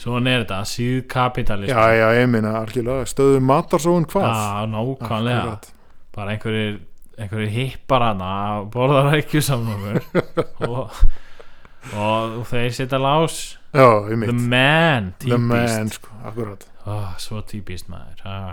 Speaker 4: Svona er þetta, síðkapitalism
Speaker 5: já, já, ég meina algjörlega stöðum matarsóun hvað
Speaker 4: Já, Ah, nákvæmlega
Speaker 5: Akkurat.
Speaker 4: Bara einhverjir, einhverjir hippar hana að borða rækjusamnumur og, og, og þeir setja lás
Speaker 5: já, ég
Speaker 4: The
Speaker 5: meina,
Speaker 4: man,
Speaker 5: the
Speaker 4: típist
Speaker 5: man sko, akkurat
Speaker 4: oh, Svo típist maður ah.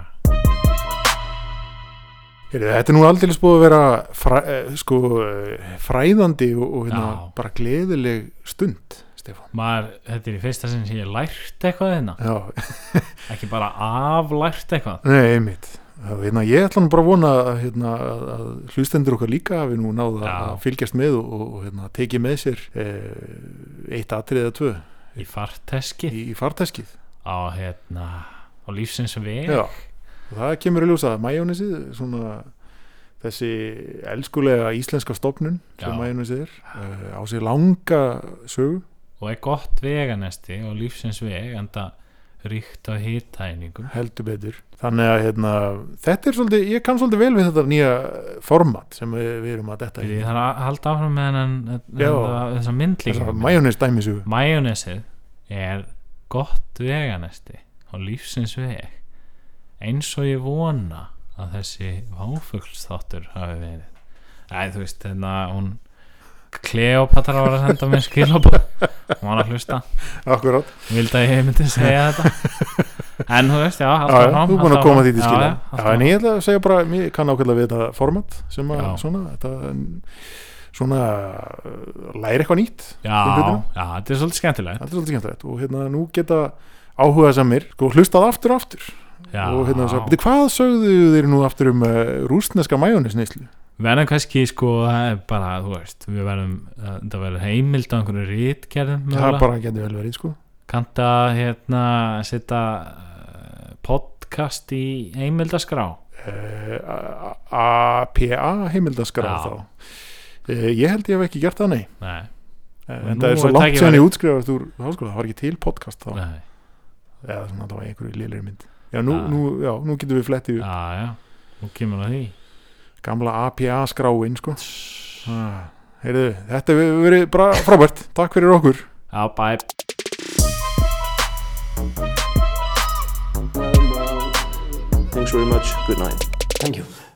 Speaker 5: Heyrðu, þetta er nú aldrei búið að vera fræ, eh, sko, eh, fræðandi og, og hérna,
Speaker 4: Já.
Speaker 5: bara gleðileg stund Stefán
Speaker 4: Maður, þetta er í fyrsta sinn sem ég lært eitthvað hérna
Speaker 5: já,
Speaker 4: Ekki bara aflært eitthvað
Speaker 5: nei, ég meina Hérna, ég ætla nú bara að vona að, hérna, að, að hlustendur okkar líka hafi nú náð að
Speaker 4: Já.
Speaker 5: að fylgjast með og, og og, hérna, tekið með sér eh, eitt atrið eða tvö
Speaker 4: Í farteski
Speaker 5: í, í farteskið
Speaker 4: Á hérna, á lífsins veg
Speaker 5: Já, og það kemur í ljósa að majónesið, svona þessi elskulega íslenska stofnun sem
Speaker 4: Já.
Speaker 5: majónesið er uh, á sér langa sögu
Speaker 4: og er gott veganesti og lífsins veg enda ríkt á hittæningum
Speaker 5: heldur betur þannig að hérna, þetta er svolítið, ég kann svolítið vel við þetta nýja format sem við, við erum að detta
Speaker 4: Ég þarf að halda áfram með hennan
Speaker 5: Já.
Speaker 4: þessa myndlíka
Speaker 5: majónes dæmisögu
Speaker 4: Majónesið er gott veganesti og lífsins veg eins og ég vona að þessi váfuglsþáttur hafi verið Æ, þú veist, hérna hún Kleopatra var að senda mér skilabó hún var að hlusta
Speaker 5: akkurat,
Speaker 4: vildi að ég myndi segja þetta en þú veist, já,
Speaker 5: já,
Speaker 4: halda
Speaker 5: já, þú er búin að koma því til skilja
Speaker 4: já,
Speaker 5: já,
Speaker 4: haltu
Speaker 5: en
Speaker 4: áfram.
Speaker 5: ég ætla að segja bara, ég kann ákveðlega við þetta format sem að
Speaker 4: Já.
Speaker 5: svona, þetta svona eh, læri eitthvað nýtt
Speaker 4: Já, já, þetta er svolítið skemmtilegt
Speaker 5: þetta er svolítið skemmtilegt og hérna nú geta áhuga samir sko hlustað aftur og aftur
Speaker 4: já.
Speaker 5: og hérna svo, beti hvað sögðu þeir nú aftur um uh, rúsneska majónisneislu
Speaker 4: verðum kannski sko það er bara, þú veist, við verðum uh, það verður heimild á einhverju rítgerðum
Speaker 5: það bara getur vel verið sko
Speaker 4: kannta hérna setja uh, podcast í heimildaskrá
Speaker 5: uh, APA heimildaskrá
Speaker 4: Já.
Speaker 5: þá uh, ég held ég hef ekki gert það nei
Speaker 4: nei,
Speaker 5: uh,
Speaker 4: Og
Speaker 5: en
Speaker 4: nú
Speaker 5: það er
Speaker 4: er
Speaker 5: svo langt
Speaker 4: tækifæri.
Speaker 5: sem ég útskrifast úr háskóla, það var ekki til podcast þá
Speaker 4: nei,
Speaker 5: eða svona það var einhverju lélir mynd já nú,
Speaker 4: Já.
Speaker 5: nú, já, nú getum við flettið upp
Speaker 4: já, já nú kemur að því
Speaker 5: gamla APA skráin sko ah, heyrðu, þetta hefur verið bara frábært takk fyrir okkur
Speaker 4: já, bæ
Speaker 3: Thanks very much. Good night.
Speaker 2: Thank you.